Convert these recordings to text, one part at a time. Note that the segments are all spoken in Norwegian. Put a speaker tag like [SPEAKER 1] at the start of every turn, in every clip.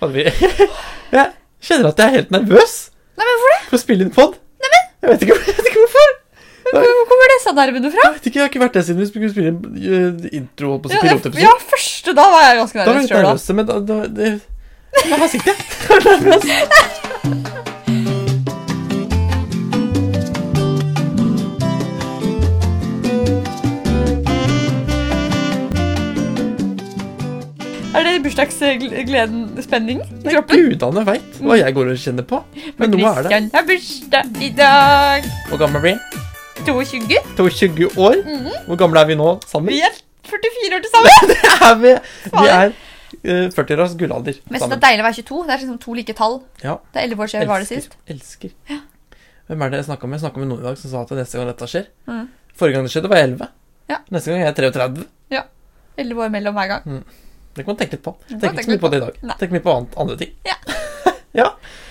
[SPEAKER 1] Faen, vi- Jeg kjenner at jeg er helt nervøs
[SPEAKER 2] Nei, men hvorfor det?
[SPEAKER 1] for å spille inn pod. Jeg vet ikke, jeg vet ikke hvorfor.
[SPEAKER 2] Hvor kommer disse nervene fra?
[SPEAKER 1] Jeg vet ikke, jeg har ikke vært det siden vi skulle spille inn eh, intro holdt på å si
[SPEAKER 2] Ja, det-
[SPEAKER 1] pilotepisode.
[SPEAKER 2] ja, første da var jeg ganske
[SPEAKER 1] Da var
[SPEAKER 2] nervøs
[SPEAKER 1] jeg
[SPEAKER 2] sjøl, da.
[SPEAKER 1] nervøs, men da, da det, Men her sitter jeg. Jeg er nervøs.
[SPEAKER 2] Er det bursdagsgleden spenning i kroppen?
[SPEAKER 1] Gudene veit hva jeg går og kjenner på. Men nå er det.
[SPEAKER 2] Christian har bursdag i dag.
[SPEAKER 1] Hvor gammel blir jeg?
[SPEAKER 2] 22.
[SPEAKER 1] 22 år. Hvor gamle er vi nå sammen?
[SPEAKER 2] Mm. Vi er 44 år til sammen.
[SPEAKER 1] Det er vi. Vi er eh, 40-åras gullalder.
[SPEAKER 2] Men så det
[SPEAKER 1] sammen.
[SPEAKER 2] er deilig å være 22. Det er liksom to like tall.
[SPEAKER 1] Ja.
[SPEAKER 2] Det er 11 år siden vi var det
[SPEAKER 1] Elsker.
[SPEAKER 2] sist.
[SPEAKER 1] elsker. Hvem er det jeg snakka med? Jeg snakka med noen i dag som sa at neste gang dette skjer
[SPEAKER 2] Mhm.
[SPEAKER 1] Forrige gang det skjedde, var jeg 11.
[SPEAKER 2] Ja.
[SPEAKER 1] Neste gang er jeg 33.
[SPEAKER 2] 11 år mellom hver gang.
[SPEAKER 1] Det kan man tenke litt på.
[SPEAKER 2] kan
[SPEAKER 1] Tenk
[SPEAKER 2] man
[SPEAKER 1] ikke så mye
[SPEAKER 2] tenke
[SPEAKER 1] på det i dag.
[SPEAKER 2] Nei.
[SPEAKER 1] Tenk mye på annet, andre ting.
[SPEAKER 2] Ja.
[SPEAKER 1] ja.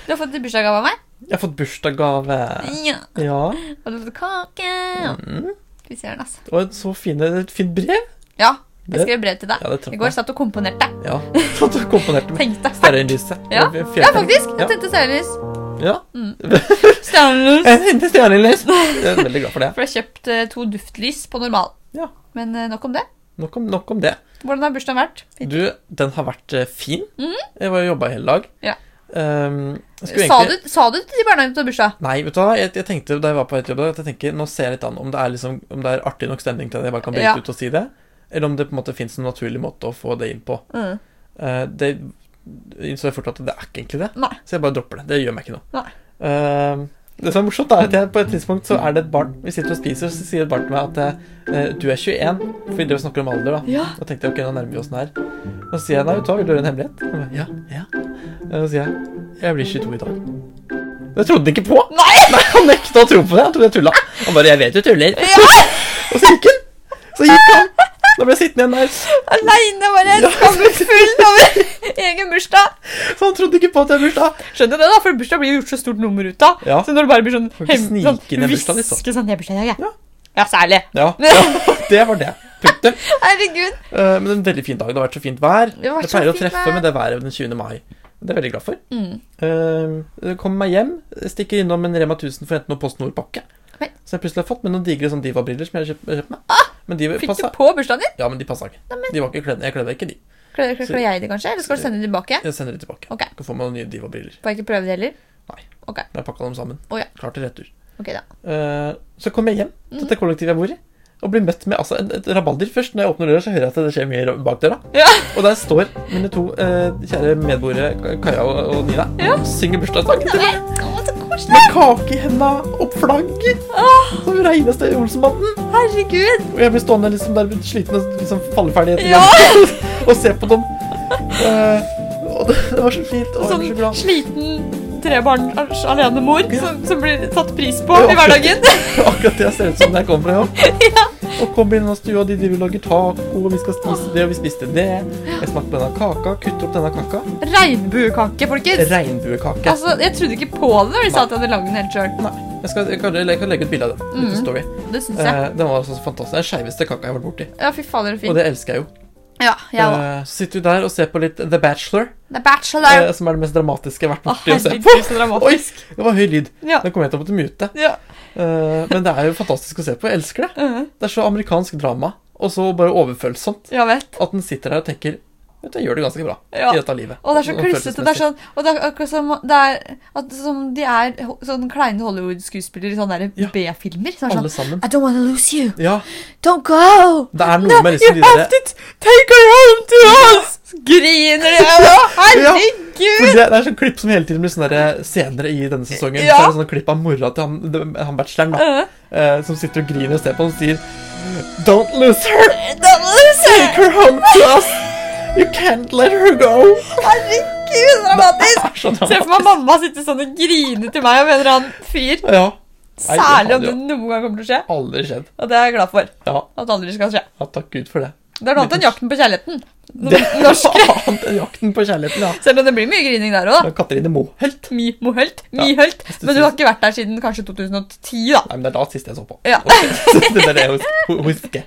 [SPEAKER 2] Du har fått en bursdagsgave av meg.
[SPEAKER 1] Jeg har fått bursdagsgave.
[SPEAKER 2] Ja.
[SPEAKER 1] Ja.
[SPEAKER 2] Og du har fått kake.
[SPEAKER 1] Mm.
[SPEAKER 2] Vi ser den, altså.
[SPEAKER 1] Og et så fine, et fint brev.
[SPEAKER 2] Ja,
[SPEAKER 1] Det-
[SPEAKER 2] jeg skrev brev til deg.
[SPEAKER 1] Ja, det traff
[SPEAKER 2] I går
[SPEAKER 1] meg.
[SPEAKER 2] satt og komponerte.
[SPEAKER 1] Ja. Så du komponerte med
[SPEAKER 2] Tenkte.
[SPEAKER 1] stearinlyset.
[SPEAKER 2] Ja.
[SPEAKER 1] Og
[SPEAKER 2] Ja,
[SPEAKER 1] fjernet-
[SPEAKER 2] faktisk. Jeg
[SPEAKER 1] Ja.
[SPEAKER 2] tente stjernelys.
[SPEAKER 1] Ja.
[SPEAKER 2] Stjernelys.
[SPEAKER 1] Jeg henter stearinlys. Jeg er veldig glad for det.
[SPEAKER 2] For jeg har kjøpt eh, to duftlys på normal.
[SPEAKER 1] Ja.
[SPEAKER 2] Men eh, nok om det.
[SPEAKER 1] Nok om, nok om det.
[SPEAKER 2] Hvordan har bursdagen vært?
[SPEAKER 1] Du, den har vært eh, fin. Jeg var og jobba hele dag.
[SPEAKER 2] Mm. Ja.
[SPEAKER 1] Ehm, jeg skulle
[SPEAKER 2] Sa,
[SPEAKER 1] egentlig-
[SPEAKER 2] du, sa du til barnehagen at du har bursdag?
[SPEAKER 1] Nei, vet du hva, jeg, jeg tenkte da jeg var på et jobb i dag, at jeg tenker, nå ser jeg litt an om det er, liksom, om det er artig nok stemning til at jeg bare kan bryte
[SPEAKER 2] Ja.
[SPEAKER 1] ut og si det, eller om det på en måte fins en naturlig måte å få det inn på.
[SPEAKER 2] Mm.
[SPEAKER 1] Eh, det innså jeg fort at det er ikke egentlig det,
[SPEAKER 2] Nei.
[SPEAKER 1] så jeg bare dropper det. Det gjør meg ikke noe.
[SPEAKER 2] Nei.
[SPEAKER 1] Ehm, det som er morsomt, er at jeg, på et tidspunkt så er det et barn Vi sitter og spiser, og så sier et barn til meg at eh, du er 21, for vi driver og snakker om alder, da.
[SPEAKER 2] Ja.
[SPEAKER 1] Da tenkte jeg ok, nå nærmer vi oss den her. Og så sier jeg nei, vet du hva, vil du høre en hemmelighet? Og jeg, ja, ja. Og så sier jeg jeg blir 22 i dag. Det trodde han ikke på!
[SPEAKER 2] Nei!
[SPEAKER 1] Nei, Han nekta å tro på det. Han trodde jeg tulla. Han bare jeg vet du tuller. Og så gikk han. Så gikk han. Da ble jeg sittende igjen der.
[SPEAKER 2] Aleine var jeg
[SPEAKER 1] Ja.
[SPEAKER 2] skamfull over egen bursdag.
[SPEAKER 1] Så han trodde ikke på at jeg har bursdag.
[SPEAKER 2] Skjønner du det, da? For bursdag blir jo gjort så stort nummer ut av.
[SPEAKER 1] Ja.
[SPEAKER 2] Så når det bare blir sånn
[SPEAKER 1] Får ikke snike inn i bursdagen, liksom.
[SPEAKER 2] hviske sånn Jeg har bursdag i dag, jeg.
[SPEAKER 1] Ja.
[SPEAKER 2] ja, særlig.
[SPEAKER 1] Ja, ja det var det. Punktum.
[SPEAKER 2] Herregud.
[SPEAKER 1] Eh, men en veldig fin dag. Det har vært så fint vær.
[SPEAKER 2] Det har vært
[SPEAKER 1] Jeg pleier
[SPEAKER 2] så
[SPEAKER 1] å
[SPEAKER 2] fint
[SPEAKER 1] treffe
[SPEAKER 2] vær.
[SPEAKER 1] med det været den 20. mai. Det er jeg veldig glad for.
[SPEAKER 2] Mm.
[SPEAKER 1] Uh, kommer meg hjem, stikker innom en Rema 1000 for å hente noe Post Nord-pakke.
[SPEAKER 2] Oi.
[SPEAKER 1] Som jeg plutselig har fått, med noen digre sånn Diva-briller som jeg har kjøpt, kjøpt meg. men de
[SPEAKER 2] Ah, Fikk
[SPEAKER 1] passa,
[SPEAKER 2] du på bursdagen din?
[SPEAKER 1] ja, men de passa ikke. De var ikke kledd, jeg kledde ikke de.
[SPEAKER 2] Kler, kler,
[SPEAKER 1] Så-
[SPEAKER 2] kler jeg det, kanskje? Eller skal du sende det tilbake?
[SPEAKER 1] Jeg sender de tilbake.
[SPEAKER 2] Ok.
[SPEAKER 1] Kan få meg noen nye Diva-briller.
[SPEAKER 2] Får jeg ikke prøve det heller?
[SPEAKER 1] Jeg har pakka dem sammen.
[SPEAKER 2] Å, ja.
[SPEAKER 1] Klar til retur.
[SPEAKER 2] Ok, da.
[SPEAKER 1] Eh, så kommer jeg hjem
[SPEAKER 2] Mm.
[SPEAKER 1] til det kollektivet jeg bor i, og blir møtt med altså, et, et rabalder. Først når jeg åpner døra, så hører jeg at det skjer mye bak døra.
[SPEAKER 2] Ja.
[SPEAKER 1] Og der står mine to eh, kjære medboere Kaja og, og Nina
[SPEAKER 2] Ja.
[SPEAKER 1] og synger bursdagssangen til meg.
[SPEAKER 2] Nei, å, så koselig.
[SPEAKER 1] Med kake i henda og flagg.
[SPEAKER 2] Å,
[SPEAKER 1] Som reineste Olsenbanden.
[SPEAKER 2] herregud.
[SPEAKER 1] Og jeg blir stående liksom der sliten og liksom falleferdig etter
[SPEAKER 2] Ja.
[SPEAKER 1] gang, og se på dem. Eh, og det, det var så fint. Og jeg
[SPEAKER 2] Sånn
[SPEAKER 1] ble så glad.
[SPEAKER 2] sliten trebarn alenemor som, som blir satt pris på
[SPEAKER 1] Ja.
[SPEAKER 2] i hverdagen.
[SPEAKER 1] Akkurat det jeg ser ut som når jeg kommer fra jobb. Og kom inn i stua, de driver og lager taco, og vi skal spise det, og vi spiste det. Jeg smakte på denne kaka, kutter opp denne kaka.
[SPEAKER 2] Regnbuekake, folkens.
[SPEAKER 1] Regnbuekake.
[SPEAKER 2] Altså, Jeg trodde ikke på det når de sa at de hadde lagd den helt sjøl.
[SPEAKER 1] Nei, jeg, skal, jeg, kan, jeg kan legge ut bilde av det. Mm.
[SPEAKER 2] Mm.
[SPEAKER 1] Story.
[SPEAKER 2] Det syns jeg.
[SPEAKER 1] Eh, den var altså så fantastisk. Det er den skeiveste kaka jeg har vært borti.
[SPEAKER 2] Ja, fy fader, så
[SPEAKER 1] Og
[SPEAKER 2] fint.
[SPEAKER 1] det elsker jeg jo.
[SPEAKER 2] Ja, jeg òg.
[SPEAKER 1] Eh, så sitter vi der og ser på litt The Bachelor,
[SPEAKER 2] Det er bachelor.
[SPEAKER 1] eh, som er det mest dramatiske jeg har vært
[SPEAKER 2] Å,
[SPEAKER 1] borti å se på.
[SPEAKER 2] herregud, så dramatisk.
[SPEAKER 1] Det var høy lyd.
[SPEAKER 2] Ja.
[SPEAKER 1] Den kom jeg til å måtte mute.
[SPEAKER 2] ja.
[SPEAKER 1] Eh, men det er jo fantastisk å se på. Jeg elsker det.
[SPEAKER 2] Mhm.
[SPEAKER 1] Det er så amerikansk drama, og så bare overfølsomt.
[SPEAKER 2] Ja, vet.
[SPEAKER 1] At den sitter der og tenker Vet du, jeg gjør det ganske bra
[SPEAKER 2] Ja.
[SPEAKER 1] i dette livet.
[SPEAKER 2] Og det er så
[SPEAKER 1] Sånn
[SPEAKER 2] klissete. Det er sånn, og det er akkurat som, det er, at, som de er ho- sånn kleine Hollywood-skuespillere i sånne der
[SPEAKER 1] Ja.
[SPEAKER 2] B-filmer. Så er det
[SPEAKER 1] Alle
[SPEAKER 2] sånn
[SPEAKER 1] sammen.
[SPEAKER 2] I don't wanna lose you.
[SPEAKER 1] Ja.
[SPEAKER 2] Don't go.
[SPEAKER 1] Det er
[SPEAKER 2] No,
[SPEAKER 1] noe med
[SPEAKER 2] you
[SPEAKER 1] liksom de
[SPEAKER 2] have
[SPEAKER 1] der
[SPEAKER 2] to take her home to us! Griner de. Å,
[SPEAKER 1] For
[SPEAKER 2] herregud!
[SPEAKER 1] det, det er sånn klipp som hele tiden blir sånn der senere i denne sesongen. Så
[SPEAKER 2] Ja.
[SPEAKER 1] er det sånne klipp av mora til han, de- han bachelor'n, da.
[SPEAKER 2] Øh,
[SPEAKER 1] eh, som sitter og griner og ser på han og sier Don't lose her!
[SPEAKER 2] Don't lose you.
[SPEAKER 1] Take her home to us! You can't let her go! Sånn,
[SPEAKER 2] Herregud,
[SPEAKER 1] Det
[SPEAKER 2] dramatisk!
[SPEAKER 1] er så
[SPEAKER 2] Se for
[SPEAKER 1] dramatisk.
[SPEAKER 2] meg mamma sitte sånn og grine til meg om en eller annen fyr.
[SPEAKER 1] Ja. Nei, det
[SPEAKER 2] Særlig
[SPEAKER 1] hadde
[SPEAKER 2] om det
[SPEAKER 1] jo
[SPEAKER 2] noen gang kommer til å skje.
[SPEAKER 1] Aldri skjedd.
[SPEAKER 2] Og det er jeg glad for.
[SPEAKER 1] Ja,
[SPEAKER 2] At det aldri skal skje.
[SPEAKER 1] ja, takk Gud for det.
[SPEAKER 2] Det er noe annet enn jakten på kjærligheten.
[SPEAKER 1] Det er
[SPEAKER 2] Norsk.
[SPEAKER 1] noe annet enn jakten på kjærligheten, ja.
[SPEAKER 2] Selv om det blir mye grining der òg, da.
[SPEAKER 1] Men Katrine Moholt
[SPEAKER 2] Mi Mohølt. Mi
[SPEAKER 1] Ja,
[SPEAKER 2] Hølt.
[SPEAKER 1] hvis du
[SPEAKER 2] Men du
[SPEAKER 1] sier-
[SPEAKER 2] har ikke vært der siden kanskje 2010, da.
[SPEAKER 1] Nei, men det er da siste jeg så på.
[SPEAKER 2] Ja.
[SPEAKER 1] Ok, så det er det jeg hus- husker.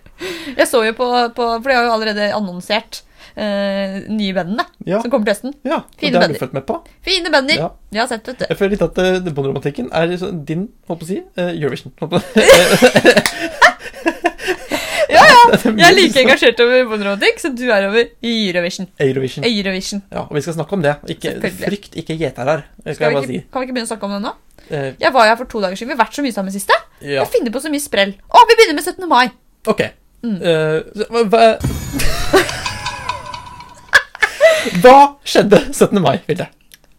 [SPEAKER 2] Jeg så jo på, på For de har jo allerede annonsert eh, nye bendene
[SPEAKER 1] Ja.
[SPEAKER 2] som kommer til høsten.
[SPEAKER 1] Ja, og
[SPEAKER 2] Fine
[SPEAKER 1] det har du
[SPEAKER 2] bønder.
[SPEAKER 1] fulgt med på.
[SPEAKER 2] Fine bender!
[SPEAKER 1] Ja.
[SPEAKER 2] Jeg har sett det, vet du.
[SPEAKER 1] Jeg føler litt at eh, den bondromantikken er så- din, holdt på å si, eh, Eurovision. Holdt på.
[SPEAKER 2] Ja,
[SPEAKER 1] Det er
[SPEAKER 2] Jeg er
[SPEAKER 1] min
[SPEAKER 2] like engasjert over bonderomantikk som du er over Eurovision. Eh,
[SPEAKER 1] Eurovision.
[SPEAKER 2] Eurovision.
[SPEAKER 1] Ja, og vi skal snakke om det. Ikke,
[SPEAKER 2] Selvfølgelig.
[SPEAKER 1] frykt ikke gjeter her,
[SPEAKER 2] Skal
[SPEAKER 1] skal jeg
[SPEAKER 2] vi
[SPEAKER 1] bare si.
[SPEAKER 2] ikke, kan vi ikke begynne å snakke om det nå?
[SPEAKER 1] Eh,
[SPEAKER 2] Jeg var her for to dager siden. Vi har vært så mye sammen siste.
[SPEAKER 1] ja,
[SPEAKER 2] Jeg finner på så mye sprell. Å, vi begynner med 17. mai!
[SPEAKER 1] ok.
[SPEAKER 2] Mm.
[SPEAKER 1] Eh, så- hva- hva Hva skjedde 17. mai, Vilde?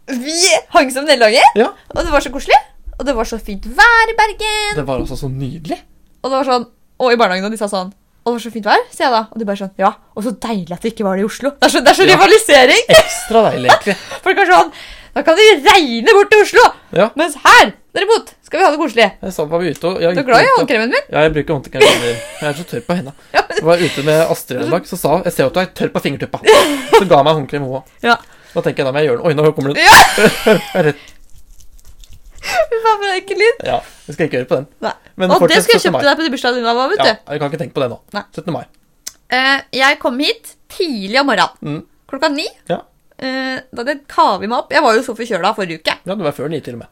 [SPEAKER 2] Vi hang som nederlaget,
[SPEAKER 1] Ja,
[SPEAKER 2] og det var så koselig. Og det var så fint vær i Bergen.
[SPEAKER 1] det var altså så nydelig.
[SPEAKER 2] Og det var sånn, og i barnehagen, og de sa sånn Å, det var så fint vær, sier jeg da. Og de bare sånn Ja, og så deilig at det ikke var det i Oslo. Det er så, det er så
[SPEAKER 1] Ja.
[SPEAKER 2] rivalisering!
[SPEAKER 1] Ekstra deilig, egentlig.
[SPEAKER 2] Folk er sånn Da kan det regne bort til Oslo!
[SPEAKER 1] Ja,
[SPEAKER 2] Mens her, derimot, skal vi ha det koselig.
[SPEAKER 1] jeg sa, var vi ute og jeg,
[SPEAKER 2] Du
[SPEAKER 1] gikk
[SPEAKER 2] er glad i
[SPEAKER 1] ut og-
[SPEAKER 2] håndkremen min?
[SPEAKER 1] Ja, jeg bruker håndkrem. Jeg er så tørr på henda.
[SPEAKER 2] Ja,
[SPEAKER 1] Jeg var ute med Astrid en dag, så sa hun Jeg ser jo at du er tørr på fingertuppa. Så ga hun meg håndkrem, hun òg.
[SPEAKER 2] Ja.
[SPEAKER 1] Da tenker jeg da må jeg gjøre det. Oi, nå kommer den.
[SPEAKER 2] Ja!
[SPEAKER 1] Jeg er rett-
[SPEAKER 2] Fy faen, for en ekkel lyd.
[SPEAKER 1] Ja, jeg skal ikke høre på den.
[SPEAKER 2] Nei.
[SPEAKER 1] Men
[SPEAKER 2] Og det
[SPEAKER 1] fortsett
[SPEAKER 2] skulle
[SPEAKER 1] 17.
[SPEAKER 2] jeg
[SPEAKER 1] mai.
[SPEAKER 2] kjøpt til deg på bursdagen din, Alva, vet
[SPEAKER 1] Ja,
[SPEAKER 2] du.
[SPEAKER 1] jeg kan ikke tenke på det nå.
[SPEAKER 2] Nei.
[SPEAKER 1] 17. mai.
[SPEAKER 2] Eh, jeg kom hit tidlig om morgenen.
[SPEAKER 1] Mm.
[SPEAKER 2] Klokka ni.
[SPEAKER 1] Ja.
[SPEAKER 2] Eh, da hadde jeg kavet meg opp. Jeg var jo så forkjøla forrige uke.
[SPEAKER 1] Ja, det var før 9 til og med.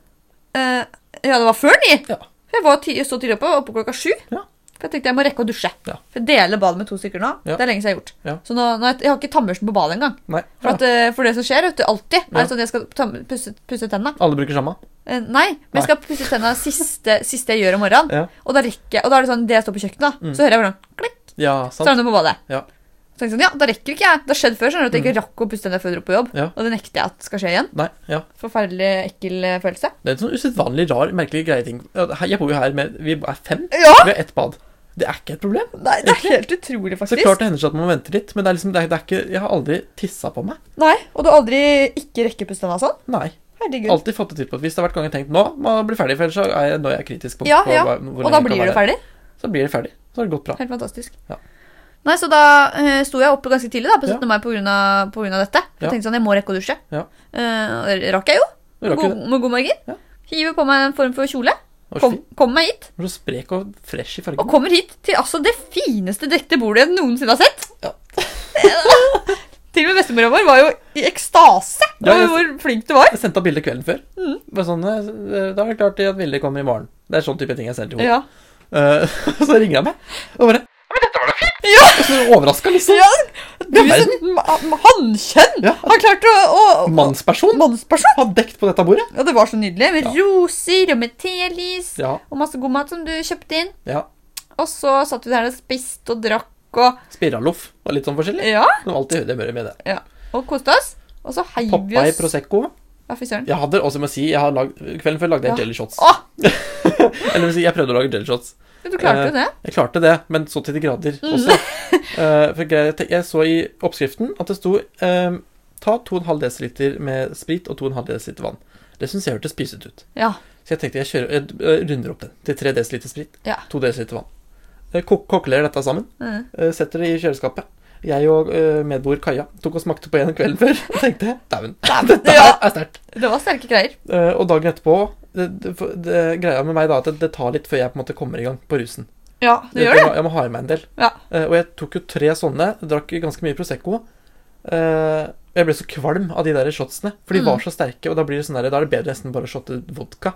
[SPEAKER 2] Eh, ja, det var før ni.
[SPEAKER 1] Ja.
[SPEAKER 2] For jeg var ti- så tidlig oppe, oppe klokka sju.
[SPEAKER 1] Ja.
[SPEAKER 2] For jeg tenkte jeg må rekke å dusje.
[SPEAKER 1] Ja.
[SPEAKER 2] For jeg deler badet med to stykker nå.
[SPEAKER 1] Ja.
[SPEAKER 2] Det er lenge siden jeg har gjort.
[SPEAKER 1] Ja.
[SPEAKER 2] Så nå, nå, jeg har ikke tannbørsten på badet engang.
[SPEAKER 1] Nei.
[SPEAKER 2] For, at, eh, for det som skjer, vet du, alltid er
[SPEAKER 1] Ja.
[SPEAKER 2] det sånn at jeg skal tam- pusse, pusse tenna.
[SPEAKER 1] Alle bruker samme.
[SPEAKER 2] Eh, nei, men jeg skal pusse tenna siste, siste jeg gjør om morgenen.
[SPEAKER 1] Ja.
[SPEAKER 2] Og da rekker jeg, og da er det sånn, det jeg står på kjøkkenet, da, så hører jeg bare sånn klikk,
[SPEAKER 1] Ja,
[SPEAKER 2] så
[SPEAKER 1] sant.
[SPEAKER 2] er det noe på badet.
[SPEAKER 1] Ja. Mm.
[SPEAKER 2] Så tenkte jeg sånn, ja, da rekker ikke jeg. Det har skjedd før, skjønner du, at jeg ikke rakk å pusse tenna før jeg dro på jobb.
[SPEAKER 1] Ja.
[SPEAKER 2] Og det nekter jeg at skal skje igjen.
[SPEAKER 1] Nei, ja.
[SPEAKER 2] Forferdelig ekkel eh, følelse.
[SPEAKER 1] Det er en sånn usedvanlig rar, merkelig greie ting. Her- Jeg bor jo her med Vi er fem.
[SPEAKER 2] Ja!
[SPEAKER 1] Vi har ett bad. Det er ikke et problem.
[SPEAKER 2] Nei, det er helt utrolig,
[SPEAKER 1] Så
[SPEAKER 2] faktisk.
[SPEAKER 1] klart det hender seg at man må vente litt, men det er liksom, det er, det er ikke, jeg har aldri tissa på meg.
[SPEAKER 2] Nei, og du har aldri ikke rekker puste tenna sånn?
[SPEAKER 1] Nei.
[SPEAKER 2] Herregud.
[SPEAKER 1] Alltid fått det til på et vis. Det har vært ganger tenkt nå må jeg bli ferdig, for ellers så er jeg, når jeg er kritisk på,
[SPEAKER 2] Ja,
[SPEAKER 1] på
[SPEAKER 2] ja.
[SPEAKER 1] hva- hvor lenge jeg
[SPEAKER 2] og da
[SPEAKER 1] kan
[SPEAKER 2] blir
[SPEAKER 1] være
[SPEAKER 2] du ferdig?
[SPEAKER 1] her. Så blir det ferdig. Så har det gått bra.
[SPEAKER 2] Helt fantastisk.
[SPEAKER 1] Ja.
[SPEAKER 2] Nei, så da eh, sto jeg oppe ganske tidlig da, på
[SPEAKER 1] Ja.
[SPEAKER 2] 17. mai på grunn, av, på grunn av dette. Så
[SPEAKER 1] Ja.
[SPEAKER 2] Jeg tenkte sånn, jeg må rekke å dusje.
[SPEAKER 1] Ja.
[SPEAKER 2] Eh, og det rakk jeg jo,
[SPEAKER 1] Du rakk jo
[SPEAKER 2] god,
[SPEAKER 1] det.
[SPEAKER 2] med god margin.
[SPEAKER 1] Ja.
[SPEAKER 2] Hiver på meg en form for kjole.
[SPEAKER 1] Det var så
[SPEAKER 2] Kom,
[SPEAKER 1] fint.
[SPEAKER 2] kom meg hit.
[SPEAKER 1] Du var så sprek og fresh i
[SPEAKER 2] Og
[SPEAKER 1] fargen.
[SPEAKER 2] kommer hit til altså, det fineste dekte bordet jeg noensinne har sett.
[SPEAKER 1] Ja.
[SPEAKER 2] til og med bestemora vår var jo i ekstase
[SPEAKER 1] Ja,
[SPEAKER 2] over
[SPEAKER 1] jeg-
[SPEAKER 2] hvor flink du var.
[SPEAKER 1] Jeg sendte av bilde kvelden før.
[SPEAKER 2] Mm.
[SPEAKER 1] Bare sånn, eh, Da er det klart at Vilde kommer i morgen. Det er sånn type ting jeg sender til henne.
[SPEAKER 2] Ja.
[SPEAKER 1] Eh, så ringer han meg og bare «Ja, men dette var da fint!
[SPEAKER 2] Ja!
[SPEAKER 1] Og Så overraska, liksom.
[SPEAKER 2] ja. Du
[SPEAKER 1] Ja,
[SPEAKER 2] som ma- hankjønn
[SPEAKER 1] Ja.
[SPEAKER 2] har klart å, å, å
[SPEAKER 1] Mannsperson
[SPEAKER 2] Mannsperson.
[SPEAKER 1] har dekt på dette bordet.
[SPEAKER 2] Ja, det var så nydelig. Med
[SPEAKER 1] Ja.
[SPEAKER 2] roser og med telys
[SPEAKER 1] Ja,
[SPEAKER 2] og masse god mat som du kjøpte inn.
[SPEAKER 1] ja.
[SPEAKER 2] Og så satt vi der og spiste og drakk og
[SPEAKER 1] Spiraloff og litt sånn forskjellig.
[SPEAKER 2] Ja,
[SPEAKER 1] Det var alltid det møret med det.
[SPEAKER 2] ja. og koste oss. Og så heiv vi
[SPEAKER 1] Poppa i
[SPEAKER 2] oss
[SPEAKER 1] Prosecco.
[SPEAKER 2] Ja, fy søren.
[SPEAKER 1] Jeg hadde også må jeg si, jeg har lagd, Kvelden før lagde jeg
[SPEAKER 2] Ja.
[SPEAKER 1] jelly shots.
[SPEAKER 2] Å,
[SPEAKER 1] Eller vil si, jeg prøvde å lage jelly shots.
[SPEAKER 2] men du
[SPEAKER 1] Eh,
[SPEAKER 2] klarte jo det.
[SPEAKER 1] Jeg klarte det, men så til de grader også. Eh, for greia- jeg, så i oppskriften at det sto eh, ta 2,5 dl med sprit og 2,5 dl vann. Det syns jeg hørtes pysete ut.
[SPEAKER 2] Ja.
[SPEAKER 1] Så jeg tenkte jeg, kjører, jeg eh, runder opp den til 3 dl sprit.
[SPEAKER 2] ja.
[SPEAKER 1] 2 dl vann. Eh, Kok kokkelerer dette sammen,
[SPEAKER 2] Mm.
[SPEAKER 1] eh, setter det i kjøleskapet. Jeg og eh, medboer Kaja tok og smakte på en kvelden før og tenkte dæven, dette her
[SPEAKER 2] Ja.
[SPEAKER 1] er sterkt.
[SPEAKER 2] Det var sterke greier.
[SPEAKER 1] Eh, Og dagen etterpå det, det, for- det, Greia med meg da at det, det tar litt før jeg på en måte kommer i gang på rusen.
[SPEAKER 2] Ja, du gjør det.
[SPEAKER 1] Jeg, må- jeg må ha i meg en del.
[SPEAKER 2] Ja.
[SPEAKER 1] Eh, Og jeg tok jo tre sånne, drakk ganske mye Prosecco. Eh, Jeg ble så kvalm av de der shotsene, for de
[SPEAKER 2] Mm.
[SPEAKER 1] var så sterke. Og da blir det sånn der, da er det bedre nesten bare å shotte vodka.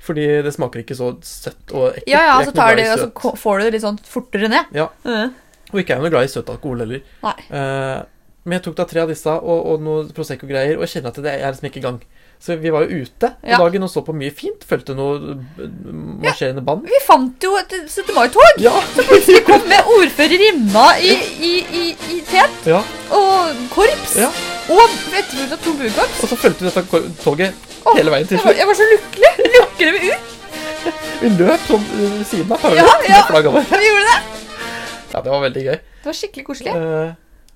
[SPEAKER 1] Fordi det smaker ikke så søtt og ekkelt.
[SPEAKER 2] Mm.
[SPEAKER 1] Jeg
[SPEAKER 2] Ja, ja,
[SPEAKER 1] er
[SPEAKER 2] så
[SPEAKER 1] ikke noe
[SPEAKER 2] tar
[SPEAKER 1] glad i
[SPEAKER 2] det, og så
[SPEAKER 1] søt.
[SPEAKER 2] ko- får du det litt sånn fortere ned.
[SPEAKER 1] Ja.
[SPEAKER 2] Mm.
[SPEAKER 1] Og ikke er jeg noe glad i søt alkohol heller.
[SPEAKER 2] Nei.
[SPEAKER 1] Eh, men jeg tok da tre av disse og, og noe Prosecco-greier, og jeg kjenner at det er liksom ikke i gang. Så vi var jo ute på
[SPEAKER 2] Ja.
[SPEAKER 1] dagen og så på mye fint. Følte noe eh, marsjerende band.
[SPEAKER 2] Vi fant jo et 17. mai-tog
[SPEAKER 1] Ja!
[SPEAKER 2] kom med ordfører Rimma i, i, i, i tet
[SPEAKER 1] ja.
[SPEAKER 2] og korps.
[SPEAKER 1] Ja.
[SPEAKER 2] Og etterfulgt av to buekorps.
[SPEAKER 1] Og så fulgte vi dette kor- toget
[SPEAKER 2] Åh,
[SPEAKER 1] hele veien til
[SPEAKER 2] Jeg var,
[SPEAKER 1] slutt.
[SPEAKER 2] jeg var så lykkelig. Lukker dem ut.
[SPEAKER 1] Vi løp sånn eh, ved siden av
[SPEAKER 2] Ja,
[SPEAKER 1] haugen
[SPEAKER 2] ja.
[SPEAKER 1] med flagget vårt.
[SPEAKER 2] Vi gjorde det.
[SPEAKER 1] Ja, det var veldig gøy.
[SPEAKER 2] Det var skikkelig koselig.
[SPEAKER 1] Eh,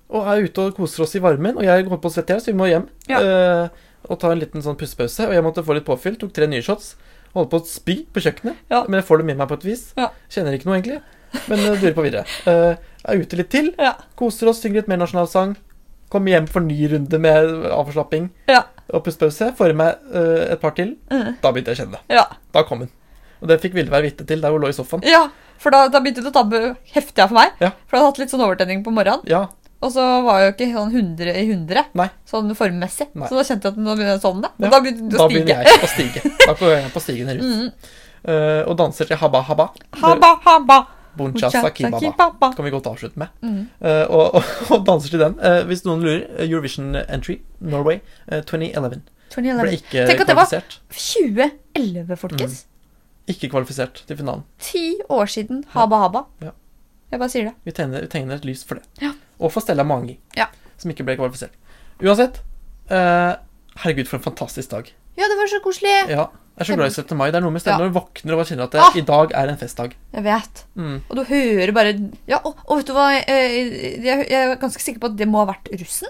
[SPEAKER 1] og er ute og koser oss i varmen, og jeg holdt på å svette her, så vi må hjem.
[SPEAKER 2] Ja.
[SPEAKER 1] Eh, og ta en liten sånn pustepause. Og jeg måtte få litt påfyll, tok tre nye shots. Holdt på å spy på kjøkkenet,
[SPEAKER 2] Ja.
[SPEAKER 1] men jeg får det med meg på et vis.
[SPEAKER 2] Ja.
[SPEAKER 1] Kjenner ikke noe, egentlig. Men uh, durer på videre. Eh, er ute litt til,
[SPEAKER 2] Ja.
[SPEAKER 1] koser oss, synger litt mer nasjonalsang. Kommer hjem for ny runde med avslapping
[SPEAKER 2] Ja.
[SPEAKER 1] og pustepause. Får i meg eh, et par til.
[SPEAKER 2] Mm.
[SPEAKER 1] Da begynte jeg å kjenne det.
[SPEAKER 2] Ja.
[SPEAKER 1] Da kom hun. Og det fikk Vilde være vitne til der hun lå i sofaen.
[SPEAKER 2] Ja, for da, da begynte det å tabbe heftig av for meg.
[SPEAKER 1] Ja.
[SPEAKER 2] For jeg hadde hatt litt sånn overtenning på morgenen.
[SPEAKER 1] Ja,
[SPEAKER 2] Og så var jeg jo ikke sånn 100 i 100
[SPEAKER 1] Nei.
[SPEAKER 2] sånn formmessig.
[SPEAKER 1] Nei.
[SPEAKER 2] Så da kjente jeg at nå begynner jeg sånn, da. Og
[SPEAKER 1] Ja,
[SPEAKER 2] da begynte det
[SPEAKER 1] Da
[SPEAKER 2] å stige.
[SPEAKER 1] begynner jeg å stige. Da går jeg på stigen
[SPEAKER 2] Mm.
[SPEAKER 1] rundt. Eh, og danser til Habba Habba.
[SPEAKER 2] Haba, haba.
[SPEAKER 1] Bunchasa Kibaba.
[SPEAKER 2] kibaba.
[SPEAKER 1] Kan vi godt avslutte med.
[SPEAKER 2] Mm.
[SPEAKER 1] Eh, og, og, og danser til den. Eh, hvis noen lurer, eh, Eurovision Entry, Norway, eh, 2011. Ble
[SPEAKER 2] 2011.
[SPEAKER 1] ikke
[SPEAKER 2] Tenk at det var-
[SPEAKER 1] kvalifisert.
[SPEAKER 2] 2011,
[SPEAKER 1] Mm.
[SPEAKER 2] folkens.
[SPEAKER 1] Ikke kvalifisert til finalen.
[SPEAKER 2] Ti år siden haba, haba.
[SPEAKER 1] Ja.
[SPEAKER 2] Jeg bare sier det.
[SPEAKER 1] Vi tegner, vi tegner et lys for det.
[SPEAKER 2] Ja.
[SPEAKER 1] Og for Stella Mangi,
[SPEAKER 2] Ja.
[SPEAKER 1] som ikke ble kvalifisert. Uansett, eh, herregud, for en fantastisk dag.
[SPEAKER 2] Ja, det var så koselig.
[SPEAKER 1] Ja, jeg er så glad i 17. mai. Det er noe med Stella
[SPEAKER 2] Ja.
[SPEAKER 1] når du våkner og bare kjenner at det,
[SPEAKER 2] Ah!
[SPEAKER 1] i dag er en festdag.
[SPEAKER 2] Jeg vet.
[SPEAKER 1] Mm.
[SPEAKER 2] Og du hører bare Ja, og, og vet du hva? eh, Jeg, jeg er ganske sikker på at det må ha vært russen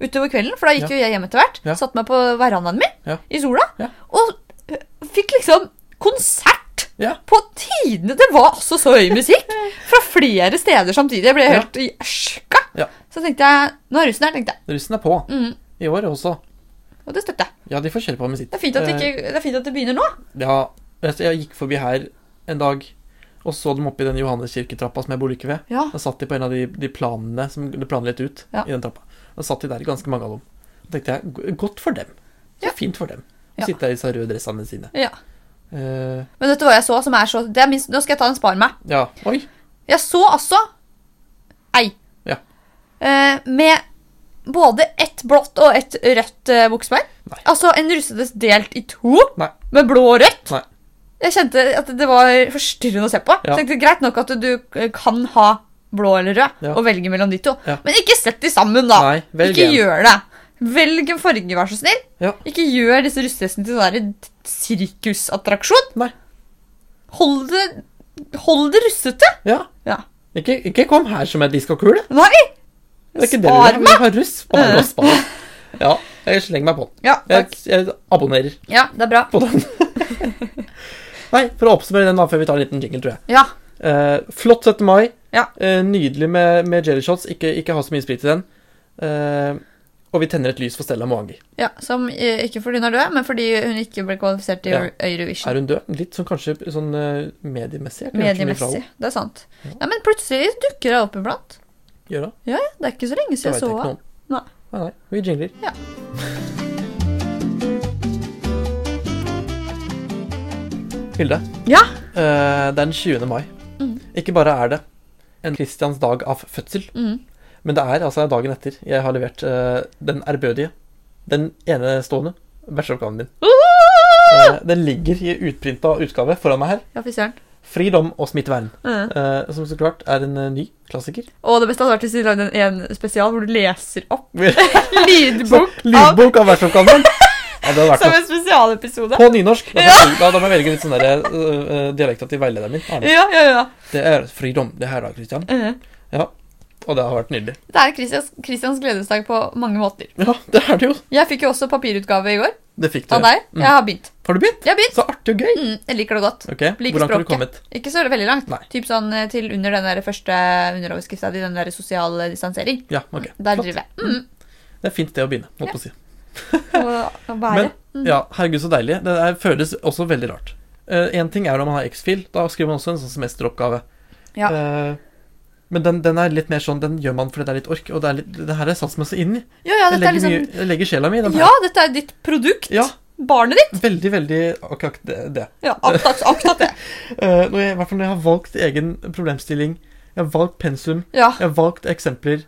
[SPEAKER 2] utover kvelden. For da gikk
[SPEAKER 1] Ja.
[SPEAKER 2] jo jeg hjem etter hvert.
[SPEAKER 1] Ja.
[SPEAKER 2] Satte meg på verandaen min
[SPEAKER 1] Ja.
[SPEAKER 2] i sola.
[SPEAKER 1] Ja.
[SPEAKER 2] Og eh, fikk liksom konsert
[SPEAKER 1] Ja.
[SPEAKER 2] på tidene. Det var altså så høy musikk fra flere steder samtidig. Jeg ble
[SPEAKER 1] Ja.
[SPEAKER 2] helt i ørska.
[SPEAKER 1] Ja.
[SPEAKER 2] Så tenkte jeg Nå er russen her, tenkte jeg.
[SPEAKER 1] Russen er på.
[SPEAKER 2] Mm.
[SPEAKER 1] I år også.
[SPEAKER 2] Og det støtter jeg.
[SPEAKER 1] Ja, de får kjøre på med sitt.
[SPEAKER 2] Det er fint at det, ikke, det, er fint at det begynner nå.
[SPEAKER 1] Eh, ja, vet du, jeg gikk forbi her en dag, og så dem oppe i den Johanneskirketrappa som jeg bor like ved.
[SPEAKER 2] Ja.
[SPEAKER 1] Da satt de på en av de, de planene som ble planlagt ut
[SPEAKER 2] Ja.
[SPEAKER 1] i den trappa. Da satt de der, ganske mange av dem. Da tenkte jeg, "Go- godt for dem. Så
[SPEAKER 2] Ja.
[SPEAKER 1] fint for dem.
[SPEAKER 2] Ja.
[SPEAKER 1] Å sitte der i disse røde dressene sine.
[SPEAKER 2] ja.
[SPEAKER 1] Eh,
[SPEAKER 2] Men vet du hva jeg så som er så det er minst, Nå skal jeg ta en spar meg.
[SPEAKER 1] ja. Oi.
[SPEAKER 2] Jeg så altså ei
[SPEAKER 1] Ja.
[SPEAKER 2] Eh, med både et blått og et rødt eh, buksbein.
[SPEAKER 1] Nei.
[SPEAKER 2] Altså en russedress delt i to,
[SPEAKER 1] Nei.
[SPEAKER 2] med blå og rødt.
[SPEAKER 1] Nei.
[SPEAKER 2] Jeg kjente at det var forstyrrende å se på.
[SPEAKER 1] Ja.
[SPEAKER 2] Jeg tenkte Greit nok at du eh, kan ha blå eller rød
[SPEAKER 1] Ja.
[SPEAKER 2] og velge mellom de to,
[SPEAKER 1] Ja.
[SPEAKER 2] men ikke sett de sammen, da.
[SPEAKER 1] Nei, velg
[SPEAKER 2] ikke
[SPEAKER 1] en.
[SPEAKER 2] gjør det. Velg en farge, vær så snill.
[SPEAKER 1] Ja.
[SPEAKER 2] Ikke gjør disse russedressene til sånn der sirkusattraksjon.
[SPEAKER 1] Nei.
[SPEAKER 2] Hold det, hold det russete.
[SPEAKER 1] Ja.
[SPEAKER 2] Ja.
[SPEAKER 1] Ikke, ikke kom her som ei diskokule.
[SPEAKER 2] Nei!
[SPEAKER 1] Det er ikke det vi
[SPEAKER 2] Spar
[SPEAKER 1] har. Vi
[SPEAKER 2] meg!
[SPEAKER 1] har russ. Spar oss, spar oss. Ja, jeg slenger meg på den.
[SPEAKER 2] Ja,
[SPEAKER 1] Jeg,
[SPEAKER 2] takk.
[SPEAKER 1] jeg abonnerer
[SPEAKER 2] Ja, det er bra.
[SPEAKER 1] på den. Nei, for å oppsummere den da, før vi tar en liten jingle, tror jeg.
[SPEAKER 2] Ja.
[SPEAKER 1] Eh, flott 17. mai.
[SPEAKER 2] Ja.
[SPEAKER 1] Eh, nydelig med, med jelly shots. Ikke, ikke ha så mye sprit i den. Eh, og vi tenner et lys for Stella Moangi.
[SPEAKER 2] ja som eh, ikke fordi hun er død, men fordi hun ikke ble kvalifisert til
[SPEAKER 1] Ja.
[SPEAKER 2] Euro- Eurovision.
[SPEAKER 1] Er hun død? Litt sånn kanskje sånn eh, mediemessig. Jeg har ikke hørt så mye fra
[SPEAKER 2] Mediemessig.
[SPEAKER 1] henne.
[SPEAKER 2] Det er sant. Ja, Men plutselig dukker hun opp iblant.
[SPEAKER 1] Gjør hun?
[SPEAKER 2] Ja, ja, Det er ikke så lenge
[SPEAKER 1] Det
[SPEAKER 2] siden
[SPEAKER 1] vet
[SPEAKER 2] jeg
[SPEAKER 1] jeg
[SPEAKER 2] så
[SPEAKER 1] ikke noe
[SPEAKER 2] henne.
[SPEAKER 1] om.
[SPEAKER 2] Nei.
[SPEAKER 1] Nei, nei. Vi jingler.
[SPEAKER 2] Ja.
[SPEAKER 1] Hilde,
[SPEAKER 2] Ja.
[SPEAKER 1] eh, det er den 20. mai.
[SPEAKER 2] Mm.
[SPEAKER 1] Ikke bare er det en Kristians dag av fødsel,
[SPEAKER 2] Mm.
[SPEAKER 1] men det er altså dagen etter jeg har levert eh, den ærbødige, den enestående bacheloroppgaven min. Eh, den ligger i utprinta utgave foran meg her.
[SPEAKER 2] Ja, fy søren.
[SPEAKER 1] Fridom og smittevern.
[SPEAKER 2] Mm.
[SPEAKER 1] eh, som så klart er en eh, ny klassiker.
[SPEAKER 2] Og det beste hadde vært hvis du lagde en, en spesial hvor du leser opp
[SPEAKER 1] Så,
[SPEAKER 2] lydbok av,
[SPEAKER 1] Lydbok av bacheloroppgaven min! Ja, det hadde vært
[SPEAKER 2] som
[SPEAKER 1] noe.
[SPEAKER 2] en spesialepisode.
[SPEAKER 1] På nynorsk. Da,
[SPEAKER 2] Ja.
[SPEAKER 1] da, da må jeg velge litt sånn der, eh, eh, dialekta til veilederen min. Arne.
[SPEAKER 2] Ja, ja, ja.
[SPEAKER 1] Det er fridom, det her da, Kristian.
[SPEAKER 2] Mm.
[SPEAKER 1] Og det har vært nydelig.
[SPEAKER 2] Det er Christians, Christians gledesdag på mange måter.
[SPEAKER 1] Ja, det er det jo.
[SPEAKER 2] Jeg fikk jo også papirutgave i går
[SPEAKER 1] Det fikk du.
[SPEAKER 2] av deg.
[SPEAKER 1] Mm.
[SPEAKER 2] Jeg har begynt.
[SPEAKER 1] Har du begynt?
[SPEAKER 2] Jeg har begynt.
[SPEAKER 1] Så artig og gøy.
[SPEAKER 2] Mm, jeg liker det godt.
[SPEAKER 1] Ok,
[SPEAKER 2] Liker
[SPEAKER 1] Hvordan har du
[SPEAKER 2] språket.
[SPEAKER 1] kommet?
[SPEAKER 2] Ikke så veldig langt.
[SPEAKER 1] Nei.
[SPEAKER 2] Typ sånn eh, til under den der første underoverskrifta di, den der sosial distansering.
[SPEAKER 1] Ja, ok.
[SPEAKER 2] Der
[SPEAKER 1] Flott.
[SPEAKER 2] driver jeg. Mm,
[SPEAKER 1] Det er fint det å begynne. Måtte på å si.
[SPEAKER 2] og, og bære.
[SPEAKER 1] Men, ja, herregud så deilig. Det er, føles også veldig rart. Én ting er om man har X-fil, da skriver man også en sånn semesteroppgave.
[SPEAKER 2] Ja.
[SPEAKER 1] Eh, men den, den er litt mer sånn, den gjør man fordi det er litt ork, og det, er litt, det her er satt meg så inn i.
[SPEAKER 2] ja, ja,
[SPEAKER 1] jeg,
[SPEAKER 2] dette er
[SPEAKER 1] legger
[SPEAKER 2] liksom
[SPEAKER 1] mye, jeg legger sjela mi i den
[SPEAKER 2] Ja, dette er ditt produkt.
[SPEAKER 1] her. Ja,
[SPEAKER 2] Barnet ditt.
[SPEAKER 1] veldig, veldig akkurat det. det.
[SPEAKER 2] Ja, akkurat, akkurat det.
[SPEAKER 1] Eh, når jeg, I hvert fall når jeg har valgt egen problemstilling, jeg har valgt pensum,
[SPEAKER 2] Ja,
[SPEAKER 1] jeg har valgt eksempler,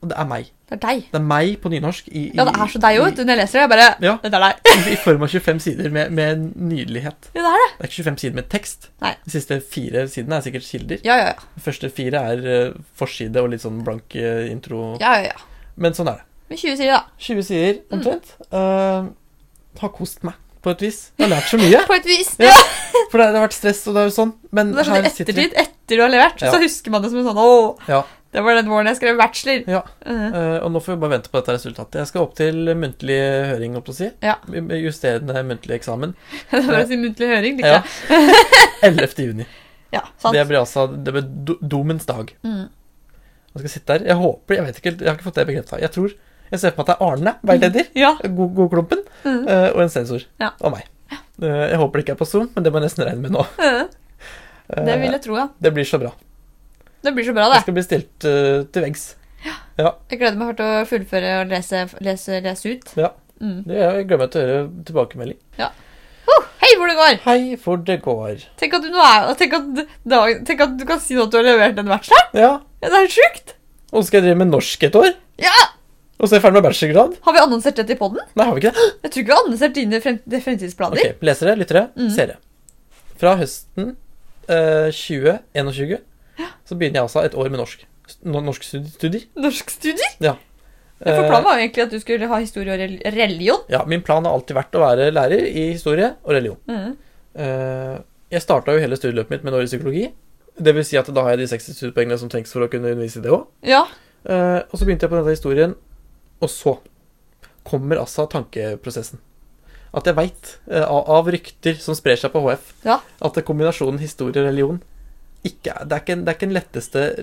[SPEAKER 1] og det er meg.
[SPEAKER 2] det er deg.
[SPEAKER 1] Det er meg på nynorsk i, i,
[SPEAKER 2] Ja, det er så deg jo, vet du. Når jeg leser det, jeg bare
[SPEAKER 1] Ja.
[SPEAKER 2] Dette er deg.
[SPEAKER 1] i, i form av 25 sider med, med nydelighet.
[SPEAKER 2] Ja, det er det.
[SPEAKER 1] Det er ikke 25 sider med tekst.
[SPEAKER 2] Nei.
[SPEAKER 1] De siste fire sidene er sikkert kilder.
[SPEAKER 2] Ja, ja, ja.
[SPEAKER 1] De første fire er eh, forside og litt sånn blank eh, intro.
[SPEAKER 2] ja, Mm. ja, ja.
[SPEAKER 1] Men sånn er det.
[SPEAKER 2] Med 20 sider, da.
[SPEAKER 1] 20 sider omtrent. Eh, har kost meg på et vis. Jeg har lært så mye.
[SPEAKER 2] På et vis.
[SPEAKER 1] Ja.
[SPEAKER 2] Ja.
[SPEAKER 1] For det, det har vært stress, og det er jo sånn. Men
[SPEAKER 2] Det er sånn
[SPEAKER 1] her
[SPEAKER 2] i
[SPEAKER 1] sitter vi.
[SPEAKER 2] ettertid, etter du har levert,
[SPEAKER 1] Ja.
[SPEAKER 2] så husker man det som en sånn Åh,
[SPEAKER 1] Ja.
[SPEAKER 2] det var den våren jeg skrev bachelor.
[SPEAKER 1] Ja.
[SPEAKER 2] Mhm.
[SPEAKER 1] Eh, og nå får vi bare vente på dette resultatet. Jeg skal opp til muntlig høring, holdt på å si.
[SPEAKER 2] Ja.
[SPEAKER 1] Med Justerende muntlig eksamen.
[SPEAKER 2] Det var å si muntlig høring, likte
[SPEAKER 1] Ja.
[SPEAKER 2] jeg.
[SPEAKER 1] 11. juni.
[SPEAKER 2] Ja, sant.
[SPEAKER 1] Det blir altså det blir do, domens dag.
[SPEAKER 2] Mm.
[SPEAKER 1] Jeg skal sitte der. Jeg håper Jeg vet ikke, helt, jeg har ikke fått det bekreftet Jeg tror Jeg ser for meg at det er Arne, veileder,
[SPEAKER 2] Ja.
[SPEAKER 1] god, god klumpen,
[SPEAKER 2] Mhm.
[SPEAKER 1] eh, og en sensor.
[SPEAKER 2] Ja.
[SPEAKER 1] Og meg. Eh, jeg håper det ikke er på Zoom, men det må jeg nesten regne med nå.
[SPEAKER 2] Mhm.
[SPEAKER 1] Eh,
[SPEAKER 2] Det vil jeg tro, ja.
[SPEAKER 1] det blir så bra.
[SPEAKER 2] Det blir så bra,
[SPEAKER 1] Jeg
[SPEAKER 2] det.
[SPEAKER 1] skal bli stilt eh, til veggs.
[SPEAKER 2] Jeg gleder meg til å fullføre og lese, lese, lese ut.
[SPEAKER 1] Ja.
[SPEAKER 2] Mm.
[SPEAKER 1] Det er, jeg gleder meg til å høre tilbakemelding.
[SPEAKER 2] Hei, hvor det går!
[SPEAKER 1] Hei, for det går.
[SPEAKER 2] Tenk at du, nå er, tenk at, dag, tenk at du kan si at du har levert en bachelor!
[SPEAKER 1] Ja.
[SPEAKER 2] Ja, Det er sjukt!
[SPEAKER 1] Og så skal jeg drive med norsk et år?
[SPEAKER 2] Ja!
[SPEAKER 1] Og så er jeg ferdig med bachelorgrad?
[SPEAKER 2] Har vi annonsert dette i podden?
[SPEAKER 1] Nei, har vi ikke det?
[SPEAKER 2] Jeg tror ikke vi har annonsert dine frem, de fremtidsplaner.
[SPEAKER 1] Ok, Lesere, lyttere,
[SPEAKER 2] Mm.
[SPEAKER 1] seere. Fra høsten eh, 2021 så begynner jeg altså et år med norsk. no- Norskstudier.
[SPEAKER 2] Norskstudier?
[SPEAKER 1] Eh,
[SPEAKER 2] For planen var jo egentlig at du skulle ha historie og rel- religion.
[SPEAKER 1] ja, min plan har alltid vært å være lærer i historie og religion.
[SPEAKER 2] Mm.
[SPEAKER 1] Eh, jeg starta jo hele studieløpet mitt med en år i psykologi. Det vil si at da har jeg de 60 studiepoengene som trengs for å kunne undervise i det òg.
[SPEAKER 2] Ja.
[SPEAKER 1] Eh, og så begynte jeg på denne historien, og så kommer altså tankeprosessen. At jeg veit, av, av rykter som sprer seg på HF,
[SPEAKER 2] Ja.
[SPEAKER 1] at kombinasjonen historie og religion ikke er, det, er ikke, en- det er ikke den letteste eh,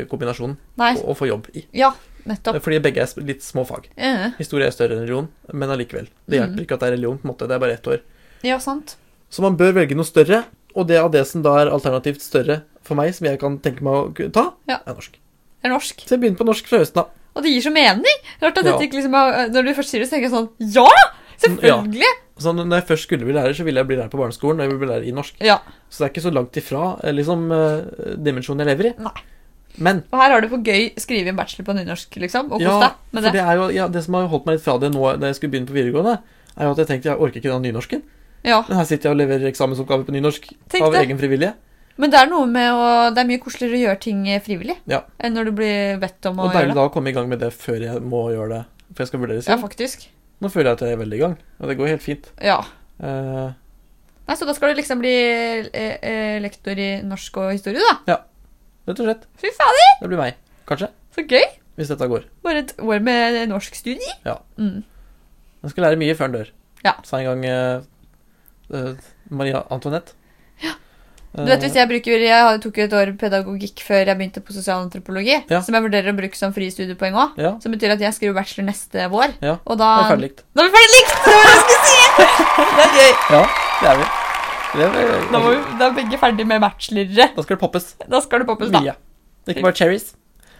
[SPEAKER 1] lærerkombinasjonen
[SPEAKER 2] Nei.
[SPEAKER 1] å, å få jobb i.
[SPEAKER 2] Ja, nettopp.
[SPEAKER 1] Fordi begge er sp- litt små fag.
[SPEAKER 2] Eh,
[SPEAKER 1] Historie er større enn religion, men allikevel. Det hjelper
[SPEAKER 2] Mhm.
[SPEAKER 1] ikke at det er religion, på en måte. Det er bare ett år.
[SPEAKER 2] Ja, sant.
[SPEAKER 1] Så man bør velge noe større, og det av det som da er alternativt større for meg, som jeg kan tenke meg å ku- ta,
[SPEAKER 2] Ja.
[SPEAKER 1] er norsk.
[SPEAKER 2] Det er norsk.
[SPEAKER 1] Så jeg begynner på norsk fra høsten av.
[SPEAKER 2] Og det gir så mening. Rart at
[SPEAKER 1] Ja.
[SPEAKER 2] dette ikke liksom er, Når du først sier det, så tenker jeg sånn Ja! Selvfølgelig!
[SPEAKER 1] Så når jeg først skulle bli lærer, så ville jeg bli lærer på barneskolen. Og jeg ville bli lærer i norsk
[SPEAKER 2] Ja.
[SPEAKER 1] Så det er ikke så langt ifra eh, liksom, eh, dimensjonen jeg lever i.
[SPEAKER 2] Nei.
[SPEAKER 1] Men
[SPEAKER 2] Og her har du på gøy skrevet en bachelor på nynorsk, liksom. Og
[SPEAKER 1] ja,
[SPEAKER 2] kos deg
[SPEAKER 1] for
[SPEAKER 2] med
[SPEAKER 1] det.
[SPEAKER 2] det.
[SPEAKER 1] er jo, ja, det som har holdt meg litt fra det nå da jeg skulle begynne på videregående, er jo at jeg tenkte jeg orker ikke den nynorsken.
[SPEAKER 2] Ja.
[SPEAKER 1] Men her sitter jeg og leverer eksamensoppgave på nynorsk
[SPEAKER 2] Tenk
[SPEAKER 1] av
[SPEAKER 2] det.
[SPEAKER 1] egen frivillige.
[SPEAKER 2] Men det er noe med å Det er mye koseligere å gjøre ting eh, frivillig
[SPEAKER 1] Ja.
[SPEAKER 2] enn når du blir bedt om å
[SPEAKER 1] Og
[SPEAKER 2] gjøre
[SPEAKER 1] deilig
[SPEAKER 2] det.
[SPEAKER 1] da å komme i gang med det før jeg må gjøre det. For jeg skal vurderes
[SPEAKER 2] Ja,
[SPEAKER 1] igjen.
[SPEAKER 2] faktisk.
[SPEAKER 1] Nå føler jeg at jeg er veldig i gang, og det går helt fint.
[SPEAKER 2] Ja.
[SPEAKER 1] Eh,
[SPEAKER 2] Nei, Så da skal du liksom bli eh, eh, lektor i norsk og historie, da?
[SPEAKER 1] rett og slett.
[SPEAKER 2] Fy fader,
[SPEAKER 1] Det blir meg. Kanskje.
[SPEAKER 2] så gøy!
[SPEAKER 1] Hvis dette går.
[SPEAKER 2] Bare et år med norskstudier.
[SPEAKER 1] Ja.
[SPEAKER 2] Mm.
[SPEAKER 1] Man skal lære mye før en dør,
[SPEAKER 2] Ja.
[SPEAKER 1] sa en gang eh, eh, Maria Antoinette. Eh,
[SPEAKER 2] Du vet, hvis Jeg bruker, jeg tok jo et år pedagogikk før jeg begynte på sosialantropologi,
[SPEAKER 1] Ja.
[SPEAKER 2] som jeg vurderer å bruke som frie studiepoeng òg.
[SPEAKER 1] Ja,
[SPEAKER 2] Som betyr at jeg skriver bachelor neste vår.
[SPEAKER 1] Ja,
[SPEAKER 2] Og da,
[SPEAKER 1] det er ferdig likt.
[SPEAKER 2] da er vi ferdig likt! Det var det jeg skulle si! Det er gøy.
[SPEAKER 1] Ja, det er vi. Det er, vi.
[SPEAKER 2] Da, må vi, da er begge ferdig med bachelorere.
[SPEAKER 1] Da skal det poppes.
[SPEAKER 2] Da skal det poppes, da.
[SPEAKER 1] Mye. Ikke bare cherries,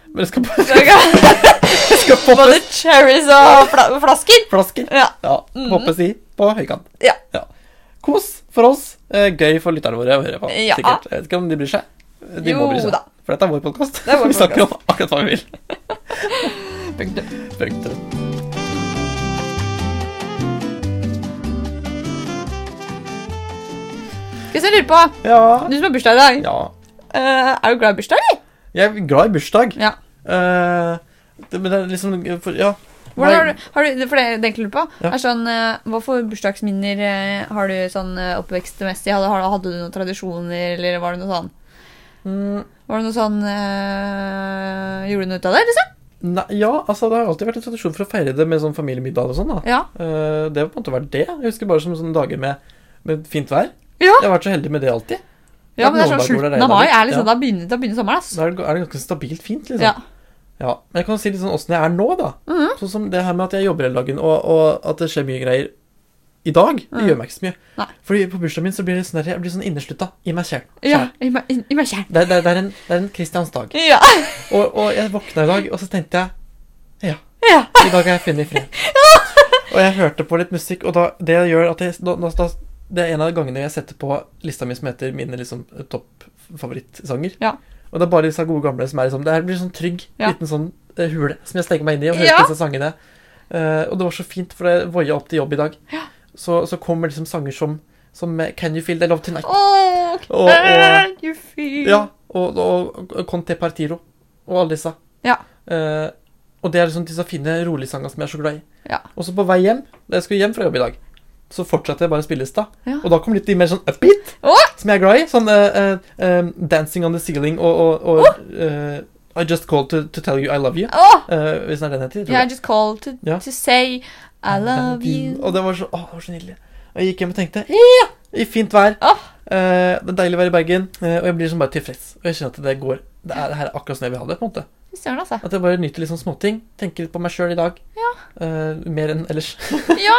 [SPEAKER 1] men det skal, det
[SPEAKER 2] Både
[SPEAKER 1] skal poppes
[SPEAKER 2] cherries og fla flasker.
[SPEAKER 1] flasker.
[SPEAKER 2] Ja.
[SPEAKER 1] Ja,
[SPEAKER 2] Mhm.
[SPEAKER 1] poppes i på høykant.
[SPEAKER 2] Ja.
[SPEAKER 1] Kos for oss. eh, Gøy for lytterne våre å høre på.
[SPEAKER 2] Ja.
[SPEAKER 1] Sikkert. Jeg vet ikke om de bryr seg. De må
[SPEAKER 2] Jo
[SPEAKER 1] bry seg.
[SPEAKER 2] da.
[SPEAKER 1] For dette er vår podkast.
[SPEAKER 2] er vår
[SPEAKER 1] Vi snakker om akkurat hva vi vil.
[SPEAKER 2] Punktum.
[SPEAKER 1] Punktum.
[SPEAKER 2] Hvis jeg lurer på,
[SPEAKER 1] Ja.
[SPEAKER 2] du som har bursdag i dag,
[SPEAKER 1] ja.
[SPEAKER 2] eh, er du glad i bursdag, eller?
[SPEAKER 1] Jeg er glad i bursdag.
[SPEAKER 2] Ja.
[SPEAKER 1] Eh, det, men det er liksom for, Ja.
[SPEAKER 2] Hvordan har
[SPEAKER 1] Nei,
[SPEAKER 2] du, har du, for det det jeg egentlig lurer på,
[SPEAKER 1] Ja.
[SPEAKER 2] er sånn, eh, Hva for bursdagsminner eh, har du sånn eh, oppvekstmessig? Hadde, har- hadde du noen tradisjoner, eller var det noe sånn?
[SPEAKER 1] mm,
[SPEAKER 2] Var det noe sånn eh, Gjorde du noe ut av det, liksom?
[SPEAKER 1] Nei, ja, altså det har alltid vært en tradisjon for å feire det med sånn familiemiddag og sånn. da.
[SPEAKER 2] Ja.
[SPEAKER 1] Eh, det har på en måte vært det. Jeg husker bare som sånne dager med, med fint vær.
[SPEAKER 2] Ja.
[SPEAKER 1] Jeg har vært så heldig med det alltid.
[SPEAKER 2] ja men det er
[SPEAKER 1] noen dager
[SPEAKER 2] sånn
[SPEAKER 1] hvor det
[SPEAKER 2] Slutten av
[SPEAKER 1] regner
[SPEAKER 2] mai
[SPEAKER 1] litt.
[SPEAKER 2] er liksom,
[SPEAKER 1] ja.
[SPEAKER 2] da, begynner, da begynner sommeren. ass.
[SPEAKER 1] Da er det, er det ganske stabilt fint, liksom.
[SPEAKER 2] Ja. Mhm.
[SPEAKER 1] Ja, Men jeg kan si litt sånn åssen jeg er nå, da. Sånn som det her med at jeg jobber hele dagen, og, og at det skjer mye greier i dag, det gjør meg ikke så mye.
[SPEAKER 2] Mhm. Nei.
[SPEAKER 1] Fordi på bursdagen min så blir det sånn der, jeg blir sånn inneslutta i meg sjæl.
[SPEAKER 2] ja. I, meg- i, i meg kjern.
[SPEAKER 1] Det, er- det, er- det er en, det er en Kristiansdag.
[SPEAKER 2] Ja.
[SPEAKER 1] Og, og jeg våkna i dag, og så tenkte jeg Ja,
[SPEAKER 2] ja.
[SPEAKER 1] i dag er jeg funnet fred. Og jeg hørte på litt musikk, og da, det gjør at jeg, da, da, da, Det er en av gangene jeg setter på lista mi som heter mine liksom, toppfavorittsanger.
[SPEAKER 2] Ja.
[SPEAKER 1] Og det er bare disse gode gamle som er liksom Det her blir sånn trygg
[SPEAKER 2] Ja.
[SPEAKER 1] liten sånn eh, hule som jeg steker meg inn i og hører
[SPEAKER 2] Ja.
[SPEAKER 1] på disse sangene. Eh, og det var så fint, for jeg voia opp til jobb i dag. Så, så kommer liksom sanger som, som eh, Can You Feel The Love Tonight?
[SPEAKER 2] Oh,
[SPEAKER 1] Og- og-
[SPEAKER 2] you feel
[SPEAKER 1] Ja, og, og, og Conte Partiro og alle disse.
[SPEAKER 2] Ja.
[SPEAKER 1] Eh, og det er liksom disse fine roligsanger som jeg er så glad i.
[SPEAKER 2] Ja.
[SPEAKER 1] Og så på vei hjem, da jeg skulle hjem fra jobb i dag, så fortsatte jeg bare å spille lista.
[SPEAKER 2] Ja.
[SPEAKER 1] Og da kom litt de mer sånn upbeat,
[SPEAKER 2] Å!
[SPEAKER 1] som jeg er glad i. Sånn eh, eh, eh, Dancing on the Ceiling og, og, og eh, I Just Called to, to Tell You I Love You.
[SPEAKER 2] Åh!
[SPEAKER 1] eh, hvis det er den heter. tror
[SPEAKER 2] Yeah, I
[SPEAKER 1] jeg.
[SPEAKER 2] just called to,
[SPEAKER 1] Ja.
[SPEAKER 2] to say I love you.
[SPEAKER 1] Og det var så, å, det var så nydelig. Og jeg gikk hjem og tenkte ja, i fint vær.
[SPEAKER 2] Åh.
[SPEAKER 1] Eh, det er deilig å være i Bergen. eh, og jeg blir liksom bare tilfreds. Og jeg kjenner at det går. Det er det her er akkurat sånn jeg vil ha det. på en måte
[SPEAKER 2] Fy Søren, altså.
[SPEAKER 1] At jeg bare nyter litt sånn småting. Tenker litt på meg sjøl i dag. Eh, mer enn ellers.
[SPEAKER 2] Ja.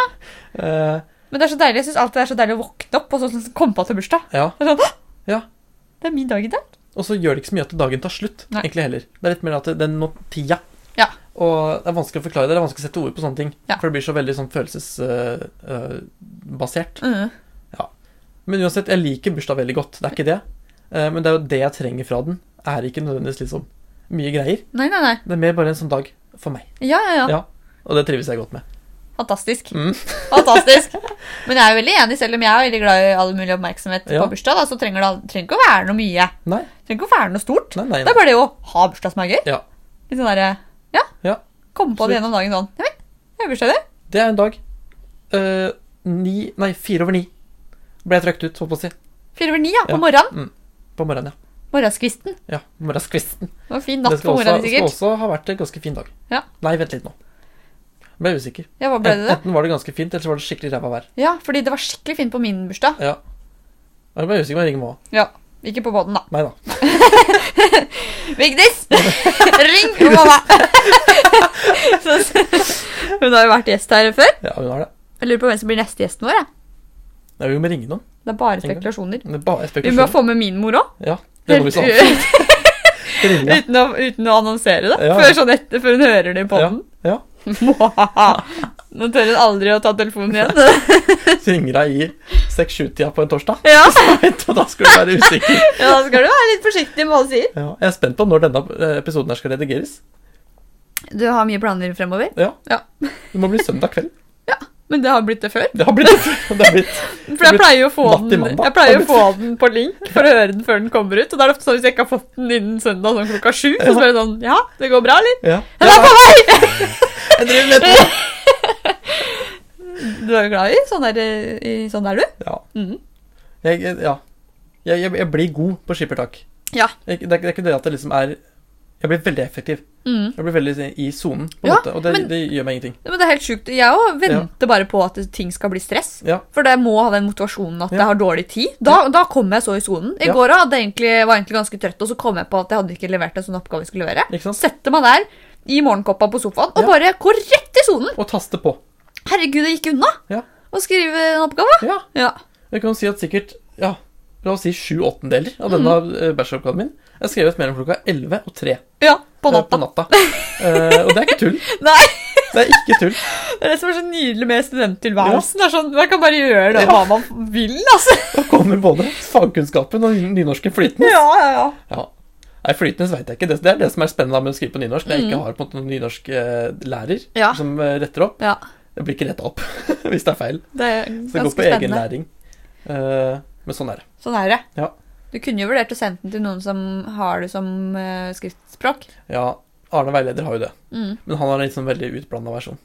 [SPEAKER 1] Eh,
[SPEAKER 2] Men det er så deilig. Jeg syns alltid det er så deilig å våkne opp og så, så komme på at det er bursdag.
[SPEAKER 1] ja.
[SPEAKER 2] Det er sånn, «Hå!
[SPEAKER 1] Ja.
[SPEAKER 2] Det er min dag i dag.
[SPEAKER 1] Og så gjør det ikke så mye at dagen tar slutt,
[SPEAKER 2] Nei.
[SPEAKER 1] egentlig heller. Det er litt mer at det- den nå tida.
[SPEAKER 2] Ja.
[SPEAKER 1] Og det er vanskelig å forklare det, det er vanskelig å sette ord på sånne ting.
[SPEAKER 2] Ja.
[SPEAKER 1] For det blir så veldig sånn eh, følelsesbasert.
[SPEAKER 2] Mm.
[SPEAKER 1] Men uansett, jeg liker bursdag veldig godt, det er ikke det. Eh, Men det er jo det jeg trenger fra den. Er ikke nødvendigvis liksom mye greier.
[SPEAKER 2] Nei, nei, nei.
[SPEAKER 1] Det er mer bare en sånn dag for meg.
[SPEAKER 2] Ja, ja, ja.
[SPEAKER 1] Ja. Og det trives jeg godt med.
[SPEAKER 2] Fantastisk.
[SPEAKER 1] Mm.
[SPEAKER 2] Fantastisk. Men jeg er jo veldig enig, selv om jeg er veldig glad i all mulig oppmerksomhet
[SPEAKER 1] Ja.
[SPEAKER 2] på bursdag, da, så trenger det al- trenger ikke å være noe mye.
[SPEAKER 1] Nei,
[SPEAKER 2] Trenger ikke å være noe stort.
[SPEAKER 1] nei, nei.
[SPEAKER 2] Det
[SPEAKER 1] nei.
[SPEAKER 2] er bare det å ha bursdag som er gøy.
[SPEAKER 1] Ja.
[SPEAKER 2] Litt sånn derre Ja.
[SPEAKER 1] Ja.
[SPEAKER 2] Komme på
[SPEAKER 1] Absolutt.
[SPEAKER 2] det gjennom dagen sånn. Ja, men, jeg har bursdag, du.
[SPEAKER 1] Det er en dag. Eh, ni Nei, fire over ni ble jeg trøkt ut, holdt på å si.
[SPEAKER 2] Fire over ni, ja. På
[SPEAKER 1] Ja.
[SPEAKER 2] morgenen.
[SPEAKER 1] På morgenen, ja.
[SPEAKER 2] Morgenskvisten.
[SPEAKER 1] Ja, morgenskvisten.
[SPEAKER 2] Det var en fin natt
[SPEAKER 1] Det skal
[SPEAKER 2] på
[SPEAKER 1] også,
[SPEAKER 2] morgenen,
[SPEAKER 1] skal
[SPEAKER 2] sikkert.
[SPEAKER 1] også ha vært en ganske fin dag.
[SPEAKER 2] Ja.
[SPEAKER 1] Nei, vent litt nå. Jeg ble usikker.
[SPEAKER 2] Ja, hva ble det? det?
[SPEAKER 1] Enten var det ganske fint, eller så var det skikkelig ræva vær.
[SPEAKER 2] Ja, fordi det var skikkelig fint på min bursdag.
[SPEAKER 1] Ja. Jeg ble usikker på ringe Moa.
[SPEAKER 2] Ja. Ikke på båten, da.
[SPEAKER 1] Nei da.
[SPEAKER 2] Vigdis! Ring mamma! Så- Hun har jo vært gjest her før.
[SPEAKER 1] Ja, hun har det.
[SPEAKER 2] Jeg lurer på hvem som blir neste gjesten vår. jeg.
[SPEAKER 1] Nei, vi må ringe noen.
[SPEAKER 2] Det er bare
[SPEAKER 1] Tenk det.
[SPEAKER 2] spekulasjoner.
[SPEAKER 1] Det er bare
[SPEAKER 2] Vi må
[SPEAKER 1] spekulasjon.
[SPEAKER 2] få med min mor òg.
[SPEAKER 1] Ja, det må vi så
[SPEAKER 2] Uten,
[SPEAKER 1] ringe.
[SPEAKER 2] å- uten å annonsere det.
[SPEAKER 1] Ja.
[SPEAKER 2] Før, sånn etter, før hun hører det i
[SPEAKER 1] Ja,
[SPEAKER 2] poden.
[SPEAKER 1] ja.
[SPEAKER 2] Nå tør hun aldri å ta telefonen igjen.
[SPEAKER 1] Så ringer deg i 6-7-tida på en torsdag.
[SPEAKER 2] ja,
[SPEAKER 1] Og da skal du være usikker.
[SPEAKER 2] ja, Da skal du være litt forsiktig med hva du sier.
[SPEAKER 1] Ja, jeg er spent på når denne eh, episoden her skal redigeres.
[SPEAKER 2] Du har mye planer fremover.
[SPEAKER 1] Ja.
[SPEAKER 2] Ja.
[SPEAKER 1] Det må bli søndag kveld.
[SPEAKER 2] Men det har blitt det før.
[SPEAKER 1] Det har blitt Det har blitt
[SPEAKER 2] For jeg pleier jo å få
[SPEAKER 1] Natt til
[SPEAKER 2] den,
[SPEAKER 1] mandag.
[SPEAKER 2] jeg pleier å få den på link for å høre den før den kommer ut. Og da er det ofte sånn hvis jeg ikke har fått den innen søndag sånn klokka sju, så
[SPEAKER 1] Ja.
[SPEAKER 2] spør jeg sånn Ja, det går bra, eller?
[SPEAKER 1] Ja.
[SPEAKER 2] Ja, det er på vei!
[SPEAKER 1] Jeg driver med det.
[SPEAKER 2] Du er glad i sånn er, i, sånn er du?
[SPEAKER 1] Ja.
[SPEAKER 2] Mhm.
[SPEAKER 1] Jeg, jeg- ja. Jeg, jeg, jeg blir god på skippertak.
[SPEAKER 2] Ja.
[SPEAKER 1] Jeg, det, er, det er ikke det at det liksom er Jeg blir veldig effektiv.
[SPEAKER 2] Mhm.
[SPEAKER 1] Jeg blir veldig i sonen, på en
[SPEAKER 2] Ja,
[SPEAKER 1] måte. Og det,
[SPEAKER 2] men-
[SPEAKER 1] det gjør meg ingenting.
[SPEAKER 2] Men det er helt sjukt. Jeg òg venter bare på at ting skal bli stress.
[SPEAKER 1] Ja.
[SPEAKER 2] For det må ha den motivasjonen at
[SPEAKER 1] Ja.
[SPEAKER 2] jeg har dårlig tid. Da, da kommer jeg så i sonen. I
[SPEAKER 1] Ja.
[SPEAKER 2] går hadde jeg egentlig, var jeg egentlig ganske trøtt, og så kom jeg på at jeg hadde ikke levert en sånn oppgave jeg skulle levere.
[SPEAKER 1] Ikke sant?
[SPEAKER 2] Setter meg der i morgenkoppa på sofaen og
[SPEAKER 1] Ja.
[SPEAKER 2] bare går rett i sonen!
[SPEAKER 1] Og taste på.
[SPEAKER 2] Herregud, det gikk unna!
[SPEAKER 1] Ja.
[SPEAKER 2] Å skrive en oppgave.
[SPEAKER 1] Ja.
[SPEAKER 2] Ja.
[SPEAKER 1] Jeg kan si at sikkert ja, La oss si sju åttendeler av denne
[SPEAKER 2] Mm.
[SPEAKER 1] eh, bacheloroppgaven min er skrevet mellom klokka 11 og 3
[SPEAKER 2] ja
[SPEAKER 1] på
[SPEAKER 2] på natta.
[SPEAKER 1] natta. Eh, og det er ikke tull.
[SPEAKER 2] Nei,
[SPEAKER 1] Det er ikke tull.
[SPEAKER 2] Det er det som er så nydelig med studenttilværelsen. Det er sånn, man kan bare gjøre det,
[SPEAKER 1] Ja.
[SPEAKER 2] hva man vil, altså.
[SPEAKER 1] Da kommer både fagkunnskapen og nynorsken flytende.
[SPEAKER 2] Ja, ja, ja.
[SPEAKER 1] Ja. Nei, flytende så vet jeg ikke. Det, det er det som er spennende med å skrive på nynorsk. når Jeg ikke har på en måte noen nynorsk eh, lærer
[SPEAKER 2] Mm. Ja.
[SPEAKER 1] som eh, retter opp.
[SPEAKER 2] Ja,
[SPEAKER 1] Det blir ikke retta opp hvis det er feil.
[SPEAKER 2] Det er
[SPEAKER 1] Så det
[SPEAKER 2] ganske
[SPEAKER 1] går på
[SPEAKER 2] spennende.
[SPEAKER 1] egenlæring. Eh, men sånn er det.
[SPEAKER 2] Sånn er det.
[SPEAKER 1] Ja.
[SPEAKER 2] Du kunne jo vurdert å sende den til noen som har det som eh, skriftspråk.
[SPEAKER 1] Ja, Arne veileder har jo det,
[SPEAKER 2] Mm.
[SPEAKER 1] men han har en litt sånn veldig utblanda versjon.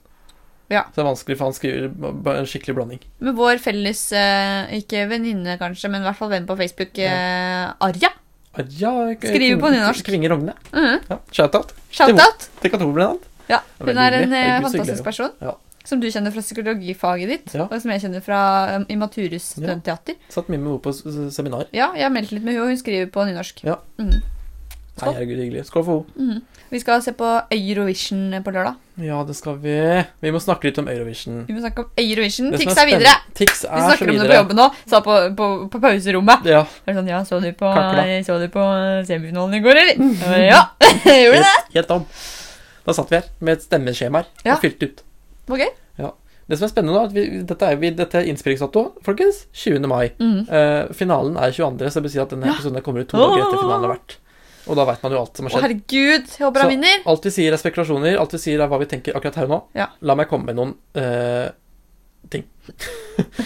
[SPEAKER 2] Ja.
[SPEAKER 1] Så det er vanskelig, for han skriver b- b- en skikkelig blanding.
[SPEAKER 2] Med vår felles, eh, ikke venninne kanskje, men i hvert fall venn på Facebook, eh, Arja.
[SPEAKER 1] Ah, Ja, k-
[SPEAKER 2] Skriver på
[SPEAKER 1] Kvin-
[SPEAKER 2] nynorsk.
[SPEAKER 1] Kvinge Rogne.
[SPEAKER 2] Mhm.
[SPEAKER 1] Ja, Shout-out Det må-
[SPEAKER 2] Shout-out!
[SPEAKER 1] til Katro, blant annet.
[SPEAKER 2] Ja,
[SPEAKER 1] Veldig
[SPEAKER 2] hun er en
[SPEAKER 1] hyggelig.
[SPEAKER 2] eh,
[SPEAKER 1] Herregud, så
[SPEAKER 2] fantastisk person.
[SPEAKER 1] Ja.
[SPEAKER 2] Som du kjenner fra psykologifaget ditt,
[SPEAKER 1] Ja.
[SPEAKER 2] og som jeg kjenner fra um, i Maturus
[SPEAKER 1] Ja.
[SPEAKER 2] studentteater.
[SPEAKER 1] Satt mye med henne på s- s- seminar.
[SPEAKER 2] Ja, jeg har meldt litt med henne, og hun skriver på nynorsk.
[SPEAKER 1] Ja.
[SPEAKER 2] Mhm.
[SPEAKER 1] Nei,
[SPEAKER 2] Skål.
[SPEAKER 1] herregud, hyggelig. Skål for henne.
[SPEAKER 2] Mm. Vi skal se på Eurovision på lørdag.
[SPEAKER 1] Ja, det skal vi. Vi må snakke litt om Eurovision.
[SPEAKER 2] Vi må snakke om Eurovision.
[SPEAKER 1] Det som
[SPEAKER 2] Tics er
[SPEAKER 1] spenn-
[SPEAKER 2] videre!
[SPEAKER 1] Tix er
[SPEAKER 2] Vi snakker
[SPEAKER 1] så
[SPEAKER 2] om det
[SPEAKER 1] videre.
[SPEAKER 2] på jobben nå. Sa på, på, på pauserommet.
[SPEAKER 1] Ja.
[SPEAKER 2] Det er sånn, ja, så du på,
[SPEAKER 1] Kakla.
[SPEAKER 2] så du på eh, semifinalen i går, eller?
[SPEAKER 1] Mm.
[SPEAKER 2] Jeg bare, Ja! Gjorde det?
[SPEAKER 1] Helt, helt om. Da satt vi her med et stemmeskjemaer
[SPEAKER 2] Ja.
[SPEAKER 1] og fylte ut.
[SPEAKER 2] Det var gøy.
[SPEAKER 1] Det som er spennende nå, er at vi, dette er, vi, dette er innspillingsdato, folkens. 20. mai.
[SPEAKER 2] Mhm.
[SPEAKER 1] Eh, finalen er 22., så det betyr at denne episoden her kommer ut to
[SPEAKER 2] Åh.
[SPEAKER 1] dager etter finalen har vært. Og da veit man jo alt som
[SPEAKER 2] Å,
[SPEAKER 1] har skjedd.
[SPEAKER 2] herregud, jeg håper
[SPEAKER 1] Så-
[SPEAKER 2] han vinner.
[SPEAKER 1] Alt vi sier er spekulasjoner, alt vi sier er hva vi tenker akkurat her og nå.
[SPEAKER 2] Ja.
[SPEAKER 1] La meg komme med noen eh,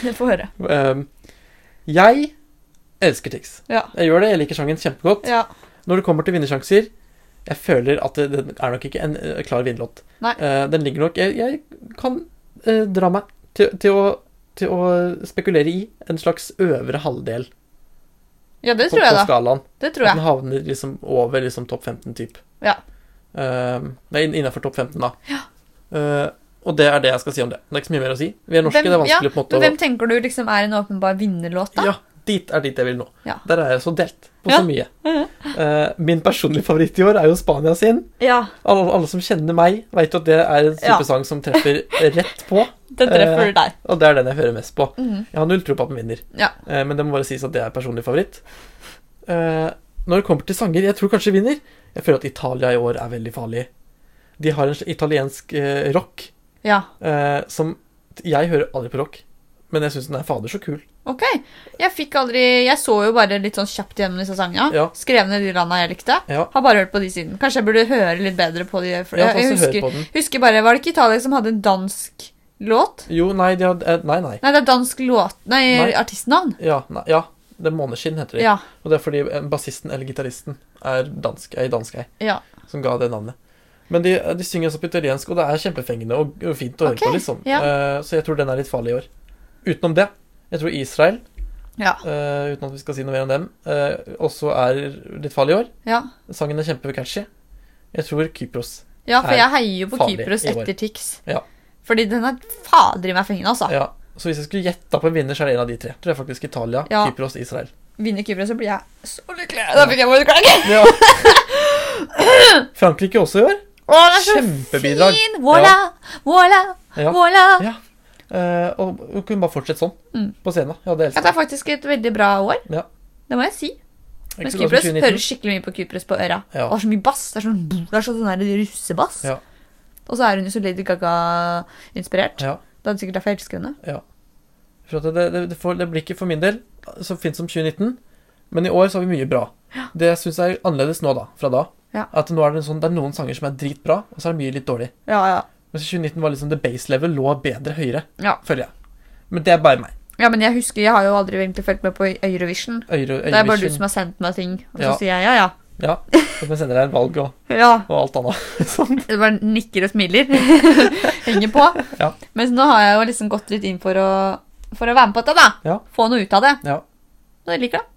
[SPEAKER 2] Jeg får høre.
[SPEAKER 1] eh, Jeg elsker Tix.
[SPEAKER 2] Ja.
[SPEAKER 1] Jeg gjør det, jeg liker sangen kjempegodt.
[SPEAKER 2] ja.
[SPEAKER 1] Når det kommer til vinnersjanser Jeg føler at det, den er nok ikke en eh, klar vinnerlåt.
[SPEAKER 2] Nei.
[SPEAKER 1] Eh, den ligger nok Jeg, jeg kan eh, dra meg til, til, å, til å spekulere i en slags øvre halvdel
[SPEAKER 2] Ja, det
[SPEAKER 1] på,
[SPEAKER 2] tror jeg,
[SPEAKER 1] på
[SPEAKER 2] da.
[SPEAKER 1] skalaen.
[SPEAKER 2] Det tror
[SPEAKER 1] At
[SPEAKER 2] jeg.
[SPEAKER 1] den havner liksom over liksom topp 15-type.
[SPEAKER 2] Ja.
[SPEAKER 1] nei, innafor topp 15, da. Eh, og det er det jeg skal si om det. Det er ikke så mye mer å si. Vi er norske, det er vanskelig
[SPEAKER 2] ja,
[SPEAKER 1] på en måte
[SPEAKER 2] men hvem tenker du liksom er en åpenbar vinnerlåt, da?
[SPEAKER 1] Ja, dit er dit jeg vil nå.
[SPEAKER 2] Ja.
[SPEAKER 1] Der er jeg så delt på
[SPEAKER 2] Ja.
[SPEAKER 1] så mye. Eh, min personlige favoritt i år er jo Spania sin.
[SPEAKER 2] Ja,
[SPEAKER 1] Alle, alle som kjenner meg, veit at det er en
[SPEAKER 2] Ja.
[SPEAKER 1] supersang som treffer rett på.
[SPEAKER 2] den treffer
[SPEAKER 1] Eh,
[SPEAKER 2] du der.
[SPEAKER 1] Og det er den jeg hører mest på.
[SPEAKER 2] Mhm.
[SPEAKER 1] Jeg har null tro på at den vinner,
[SPEAKER 2] Ja.
[SPEAKER 1] Eh, men det må bare sies at det er personlig favoritt. Eh, når det kommer til sanger jeg tror kanskje vinner Jeg føler at Italia i år er veldig farlig. De har en sl- italiensk eh, rock
[SPEAKER 2] Ja,
[SPEAKER 1] eh, som Jeg hører aldri på rock, men jeg syns den er fader så kul.
[SPEAKER 2] ok. Jeg fikk aldri Jeg så jo bare litt sånn kjapt gjennom disse sangene.
[SPEAKER 1] Ja.
[SPEAKER 2] Skrev ned de landa jeg likte.
[SPEAKER 1] Ja,
[SPEAKER 2] Har bare hørt på de siden. Kanskje jeg burde høre litt bedre på de. For
[SPEAKER 1] jeg
[SPEAKER 2] jeg,
[SPEAKER 1] har
[SPEAKER 2] jeg
[SPEAKER 1] også hørt
[SPEAKER 2] husker,
[SPEAKER 1] på den.
[SPEAKER 2] husker bare Var det ikke Italia som hadde en dansk låt?
[SPEAKER 1] Jo, nei, de hadde, eh, nei, nei.
[SPEAKER 2] Nei, det er dansk låt Nei,
[SPEAKER 1] Nei.
[SPEAKER 2] artistnavn.
[SPEAKER 1] Ja, nei, ja. Det er Måneskinn heter de.
[SPEAKER 2] Ja.
[SPEAKER 1] Og det er fordi eh, bassisten eller gitaristen er dansk, ei dansk ei,
[SPEAKER 2] ja.
[SPEAKER 1] som ga det navnet. Men de, de synger også på italiensk, og det er kjempefengende og, og fint å høre
[SPEAKER 2] Ok,
[SPEAKER 1] på, liksom.
[SPEAKER 2] ja.
[SPEAKER 1] Eh, så jeg tror den er litt farlig i år. Utenom det, jeg tror Israel,
[SPEAKER 2] Ja.
[SPEAKER 1] eh, uten at vi skal si noe mer om dem, eh, også er litt farlig i år.
[SPEAKER 2] ja.
[SPEAKER 1] Sangen er kjempecatchy. Jeg tror Kypros.
[SPEAKER 2] Ja, for
[SPEAKER 1] er
[SPEAKER 2] jeg heier jo på
[SPEAKER 1] farlig
[SPEAKER 2] Kypros
[SPEAKER 1] i år.
[SPEAKER 2] etter Tix.
[SPEAKER 1] Ja.
[SPEAKER 2] Fordi den er fader i meg fengende, altså.
[SPEAKER 1] Ja. Så hvis jeg skulle gjetta på en vinner, så er det en av de tre. Tror jeg faktisk Italia,
[SPEAKER 2] Ja.
[SPEAKER 1] Kypros, Israel.
[SPEAKER 2] Vinner Kypros, så blir jeg så lykkelig. Da fikk jeg vår klage.
[SPEAKER 1] Ja. Frankrike også i år.
[SPEAKER 2] Å, det er så
[SPEAKER 1] Kjempebidrag.
[SPEAKER 2] fin! Voilà, voilà,
[SPEAKER 1] Ja.
[SPEAKER 2] voilà.
[SPEAKER 1] Ja. Eh, og hun kunne bare fortsette sånn
[SPEAKER 2] Mm.
[SPEAKER 1] på scenen. Jeg hadde
[SPEAKER 2] Ja,
[SPEAKER 1] elsket
[SPEAKER 2] det er faktisk et veldig bra år.
[SPEAKER 1] Ja.
[SPEAKER 2] Det må jeg si.
[SPEAKER 1] Jeg
[SPEAKER 2] Men
[SPEAKER 1] skulle ønske
[SPEAKER 2] Kypros hører
[SPEAKER 1] 2019.
[SPEAKER 2] skikkelig mye på Kypros på øra.
[SPEAKER 1] Ja.
[SPEAKER 2] Og det er så mye bass. Det er sånn, det er sånn der russebass.
[SPEAKER 1] Ja.
[SPEAKER 2] Og så er hun jo så Lady Gaga-inspirert.
[SPEAKER 1] Ja,
[SPEAKER 2] Det er sikkert derfor jeg elsker henne.
[SPEAKER 1] for at det, det, det, får, det blir ikke for min del så fint som 2019, men i år så har vi mye bra. Det jeg syns er annerledes nå, da, fra da,
[SPEAKER 2] Ja.
[SPEAKER 1] at nå er det, en sånn, det er noen sanger som er dritbra, og så er det mye litt dårlig.
[SPEAKER 2] Ja, ja.
[SPEAKER 1] Mens i 2019 var liksom the base level lå bedre høyere,
[SPEAKER 2] Ja.
[SPEAKER 1] føler jeg. Men det er bare meg.
[SPEAKER 2] ja, men jeg husker, jeg har jo aldri egentlig fulgt med på Eurovision.
[SPEAKER 1] Øyre,
[SPEAKER 2] Det er bare du som har sendt meg ting, og så
[SPEAKER 1] Ja.
[SPEAKER 2] sier jeg ja, ja.
[SPEAKER 1] Ja. Og så sender deg en valg og,
[SPEAKER 2] Ja,
[SPEAKER 1] og alt annet. sånn.
[SPEAKER 2] Du bare nikker og smiler. Henger på.
[SPEAKER 1] Ja.
[SPEAKER 2] Mens nå har jeg jo liksom gått litt inn for å, for å være med på dette, da.
[SPEAKER 1] Ja.
[SPEAKER 2] Få noe ut av det.
[SPEAKER 1] Ja.
[SPEAKER 2] Så jeg liker det.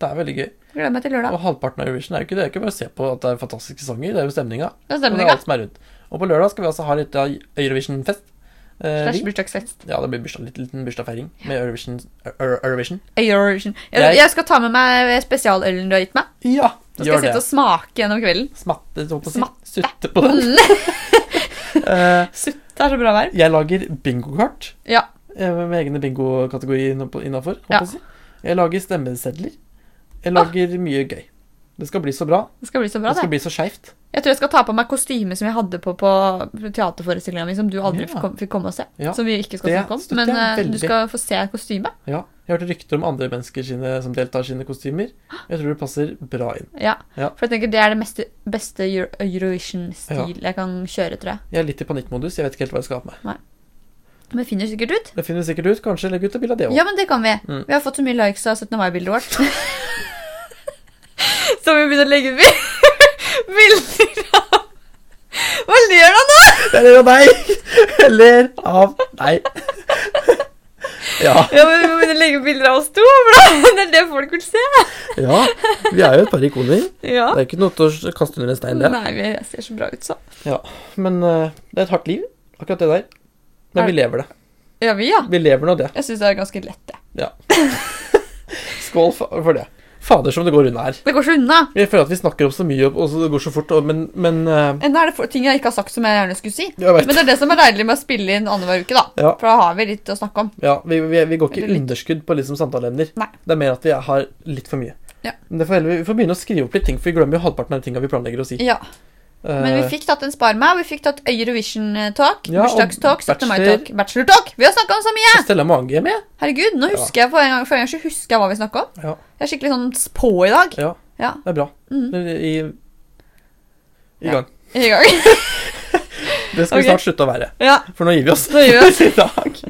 [SPEAKER 1] Det er veldig gøy.
[SPEAKER 2] Gleder meg til lørdag.
[SPEAKER 1] Og halvparten av Eurovision er jo ikke det. Det er ikke bare å se på at det er fantastiske sanger, det er jo stemninga.
[SPEAKER 2] Det
[SPEAKER 1] Og
[SPEAKER 2] stemmer
[SPEAKER 1] det er
[SPEAKER 2] ikke.
[SPEAKER 1] alt som er rundt. Og på lørdag skal vi altså ha litt av Eurovision-fest. Eh,
[SPEAKER 2] Slash
[SPEAKER 1] vi-
[SPEAKER 2] bursdagsfest.
[SPEAKER 1] ja, det blir bursdag, litt, liten bursdagsfeiring med Eurovision. Eur- Eurovision.
[SPEAKER 2] Eurovision.
[SPEAKER 1] Jeg-
[SPEAKER 2] Jeg, jeg skal ta med meg spesialølen du har gitt meg.
[SPEAKER 1] Ja,
[SPEAKER 2] Så skal
[SPEAKER 1] gjør
[SPEAKER 2] jeg sitte
[SPEAKER 1] det.
[SPEAKER 2] og smake gjennom kvelden.
[SPEAKER 1] Smatte, holdt på å si.
[SPEAKER 2] Smatte.
[SPEAKER 1] Sutte på den. Eh,
[SPEAKER 2] Sutt, det er så bra vær.
[SPEAKER 1] jeg lager bingokart
[SPEAKER 2] Ja.
[SPEAKER 1] eh, med egne bingokategorier innafor.
[SPEAKER 2] Ja.
[SPEAKER 1] Jeg, si. jeg lager stemmesedler. Jeg lager mye gøy. Det skal bli så bra.
[SPEAKER 2] Det skal bli så bra,
[SPEAKER 1] Det skal
[SPEAKER 2] det.
[SPEAKER 1] bli så skeivt.
[SPEAKER 2] Jeg tror jeg skal ta på meg kostyme som jeg hadde på på teaterforestillinga mi, som du aldri
[SPEAKER 1] Ja.
[SPEAKER 2] fikk kom- fikk komme og se.
[SPEAKER 1] Ja.
[SPEAKER 2] Som vi ikke skal
[SPEAKER 1] Det
[SPEAKER 2] snakke om.
[SPEAKER 1] støtter
[SPEAKER 2] Men
[SPEAKER 1] jeg
[SPEAKER 2] eh, du
[SPEAKER 1] veldig.
[SPEAKER 2] skal få se kostymet.
[SPEAKER 1] Ja. Jeg har hørt rykter om andre mennesker sine, som deltar sine kostymer. Jeg tror det passer bra inn.
[SPEAKER 2] Ja.
[SPEAKER 1] Ja.
[SPEAKER 2] For jeg tenker det er det meste, beste Euro Eurovision-stil jeg kan kjøre, tror jeg.
[SPEAKER 1] Jeg er litt i panikkmodus. Jeg vet ikke helt hva jeg skal ha på meg.
[SPEAKER 2] Men vi finner sikkert ut.
[SPEAKER 1] Det finner vi sikkert ut. Kanskje legge ut et bilde av det òg.
[SPEAKER 2] Ja, men det kan vi.
[SPEAKER 1] Mm.
[SPEAKER 2] Vi har fått så mye likes av 17. mai-bildet vårt. så vi begynner å legge ut bi- bilder av Hva ler du av nå?
[SPEAKER 1] Jeg ler av deg! Jeg ler av deg. Ja,
[SPEAKER 2] Ja, men Vi må begynne å legge ut bilder av oss to. For da- det er det folk vil se.
[SPEAKER 1] ja. Vi er jo et par ikoner.
[SPEAKER 2] Ja.
[SPEAKER 1] Det er ikke noe til å kaste under en stein, det.
[SPEAKER 2] Nei, vi ser så bra ut, så.
[SPEAKER 1] Men eh, det er et hardt liv, akkurat det der. Men
[SPEAKER 2] Er-
[SPEAKER 1] vi lever det.
[SPEAKER 2] Ja, vi, ja.
[SPEAKER 1] Vi lever nå det.
[SPEAKER 2] Jeg syns det er ganske lett, det.
[SPEAKER 1] Skål fa- for det. Fader som det går unna her.
[SPEAKER 2] Det går så unna.
[SPEAKER 1] Jeg føler at vi snakker om så mye, og så det går så fort, og, men, men eh,
[SPEAKER 2] Ennå er det for- ting jeg ikke har sagt som jeg gjerne skulle si.
[SPEAKER 1] Jeg
[SPEAKER 2] Men
[SPEAKER 1] vet.
[SPEAKER 2] det er det som er deilig med å spille inn annenhver uke, da.
[SPEAKER 1] Ja.
[SPEAKER 2] For da har vi litt å snakke om.
[SPEAKER 1] Ja, vi, vi, vi går ikke
[SPEAKER 2] Eller litt.
[SPEAKER 1] underskudd på liksom samtaleemner.
[SPEAKER 2] Nei.
[SPEAKER 1] Det er mer at vi har litt for mye.
[SPEAKER 2] Ja.
[SPEAKER 1] Men det får heller, vi får begynne å skrive opp litt ting, for vi glemmer jo halvparten av de tinga vi planlegger å si.
[SPEAKER 2] Ja, Men vi fikk tatt en Spar meg, og vi fikk tatt eh, Eurovision-talk,
[SPEAKER 1] Eh. Ja, og
[SPEAKER 2] bursdagstalk, 17.
[SPEAKER 1] bachelor-
[SPEAKER 2] mai-talk, bachelor-talk. Vi har snakka om så mye!
[SPEAKER 1] Eh, Stella Mange er med.
[SPEAKER 2] Herregud, nå
[SPEAKER 1] Ja.
[SPEAKER 2] husker jeg for en gang, for en gang så husker jeg hva vi snakka om.
[SPEAKER 1] Ja.
[SPEAKER 2] Jeg er skikkelig sånn på i dag.
[SPEAKER 1] Ja,
[SPEAKER 2] Ja.
[SPEAKER 1] det er bra.
[SPEAKER 2] Mm.
[SPEAKER 1] Det er I, i
[SPEAKER 2] Ja.
[SPEAKER 1] gang.
[SPEAKER 2] I gang.
[SPEAKER 1] Det skal
[SPEAKER 2] Ok.
[SPEAKER 1] vi snart slutte å være,
[SPEAKER 2] Ja.
[SPEAKER 1] for nå gir vi oss.
[SPEAKER 2] Nå gir vi oss.
[SPEAKER 1] I dag.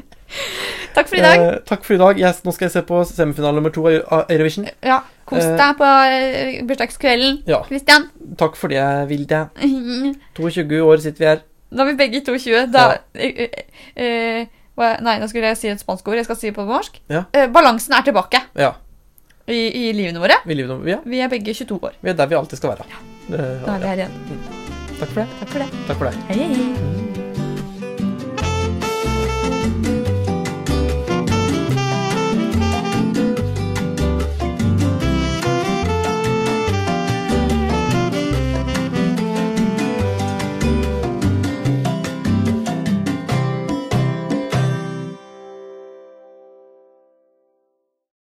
[SPEAKER 2] Takk for i dag.
[SPEAKER 1] Eh, takk for i dag. Jeg, nå skal jeg se på semifinale nummer to av Eu- av Eurovision.
[SPEAKER 2] Ja. Kos
[SPEAKER 1] eh,
[SPEAKER 2] deg på eh, bursdagskvelden,
[SPEAKER 1] Ja,
[SPEAKER 2] Christian.
[SPEAKER 1] takk for det, Vilde.
[SPEAKER 2] Da
[SPEAKER 1] 22 år sitter vi her.
[SPEAKER 2] er vi begge 22. Da eh, eh, eh, hva- Nei, nå skulle jeg si et spansk ord. Jeg skal si det på norsk.
[SPEAKER 1] Ja.
[SPEAKER 2] Eh, Balansen er tilbake
[SPEAKER 1] Ja,
[SPEAKER 2] i, i livene våre.
[SPEAKER 1] vi lever nå. Vi er-
[SPEAKER 2] Vi er begge 22 år.
[SPEAKER 1] vi er der vi alltid skal være. Eh,
[SPEAKER 2] Da er vi her igjen.
[SPEAKER 1] Takk for det.
[SPEAKER 2] Takk for det.
[SPEAKER 1] Takk for deg.
[SPEAKER 2] Hei, hei.
[SPEAKER 1] Mm.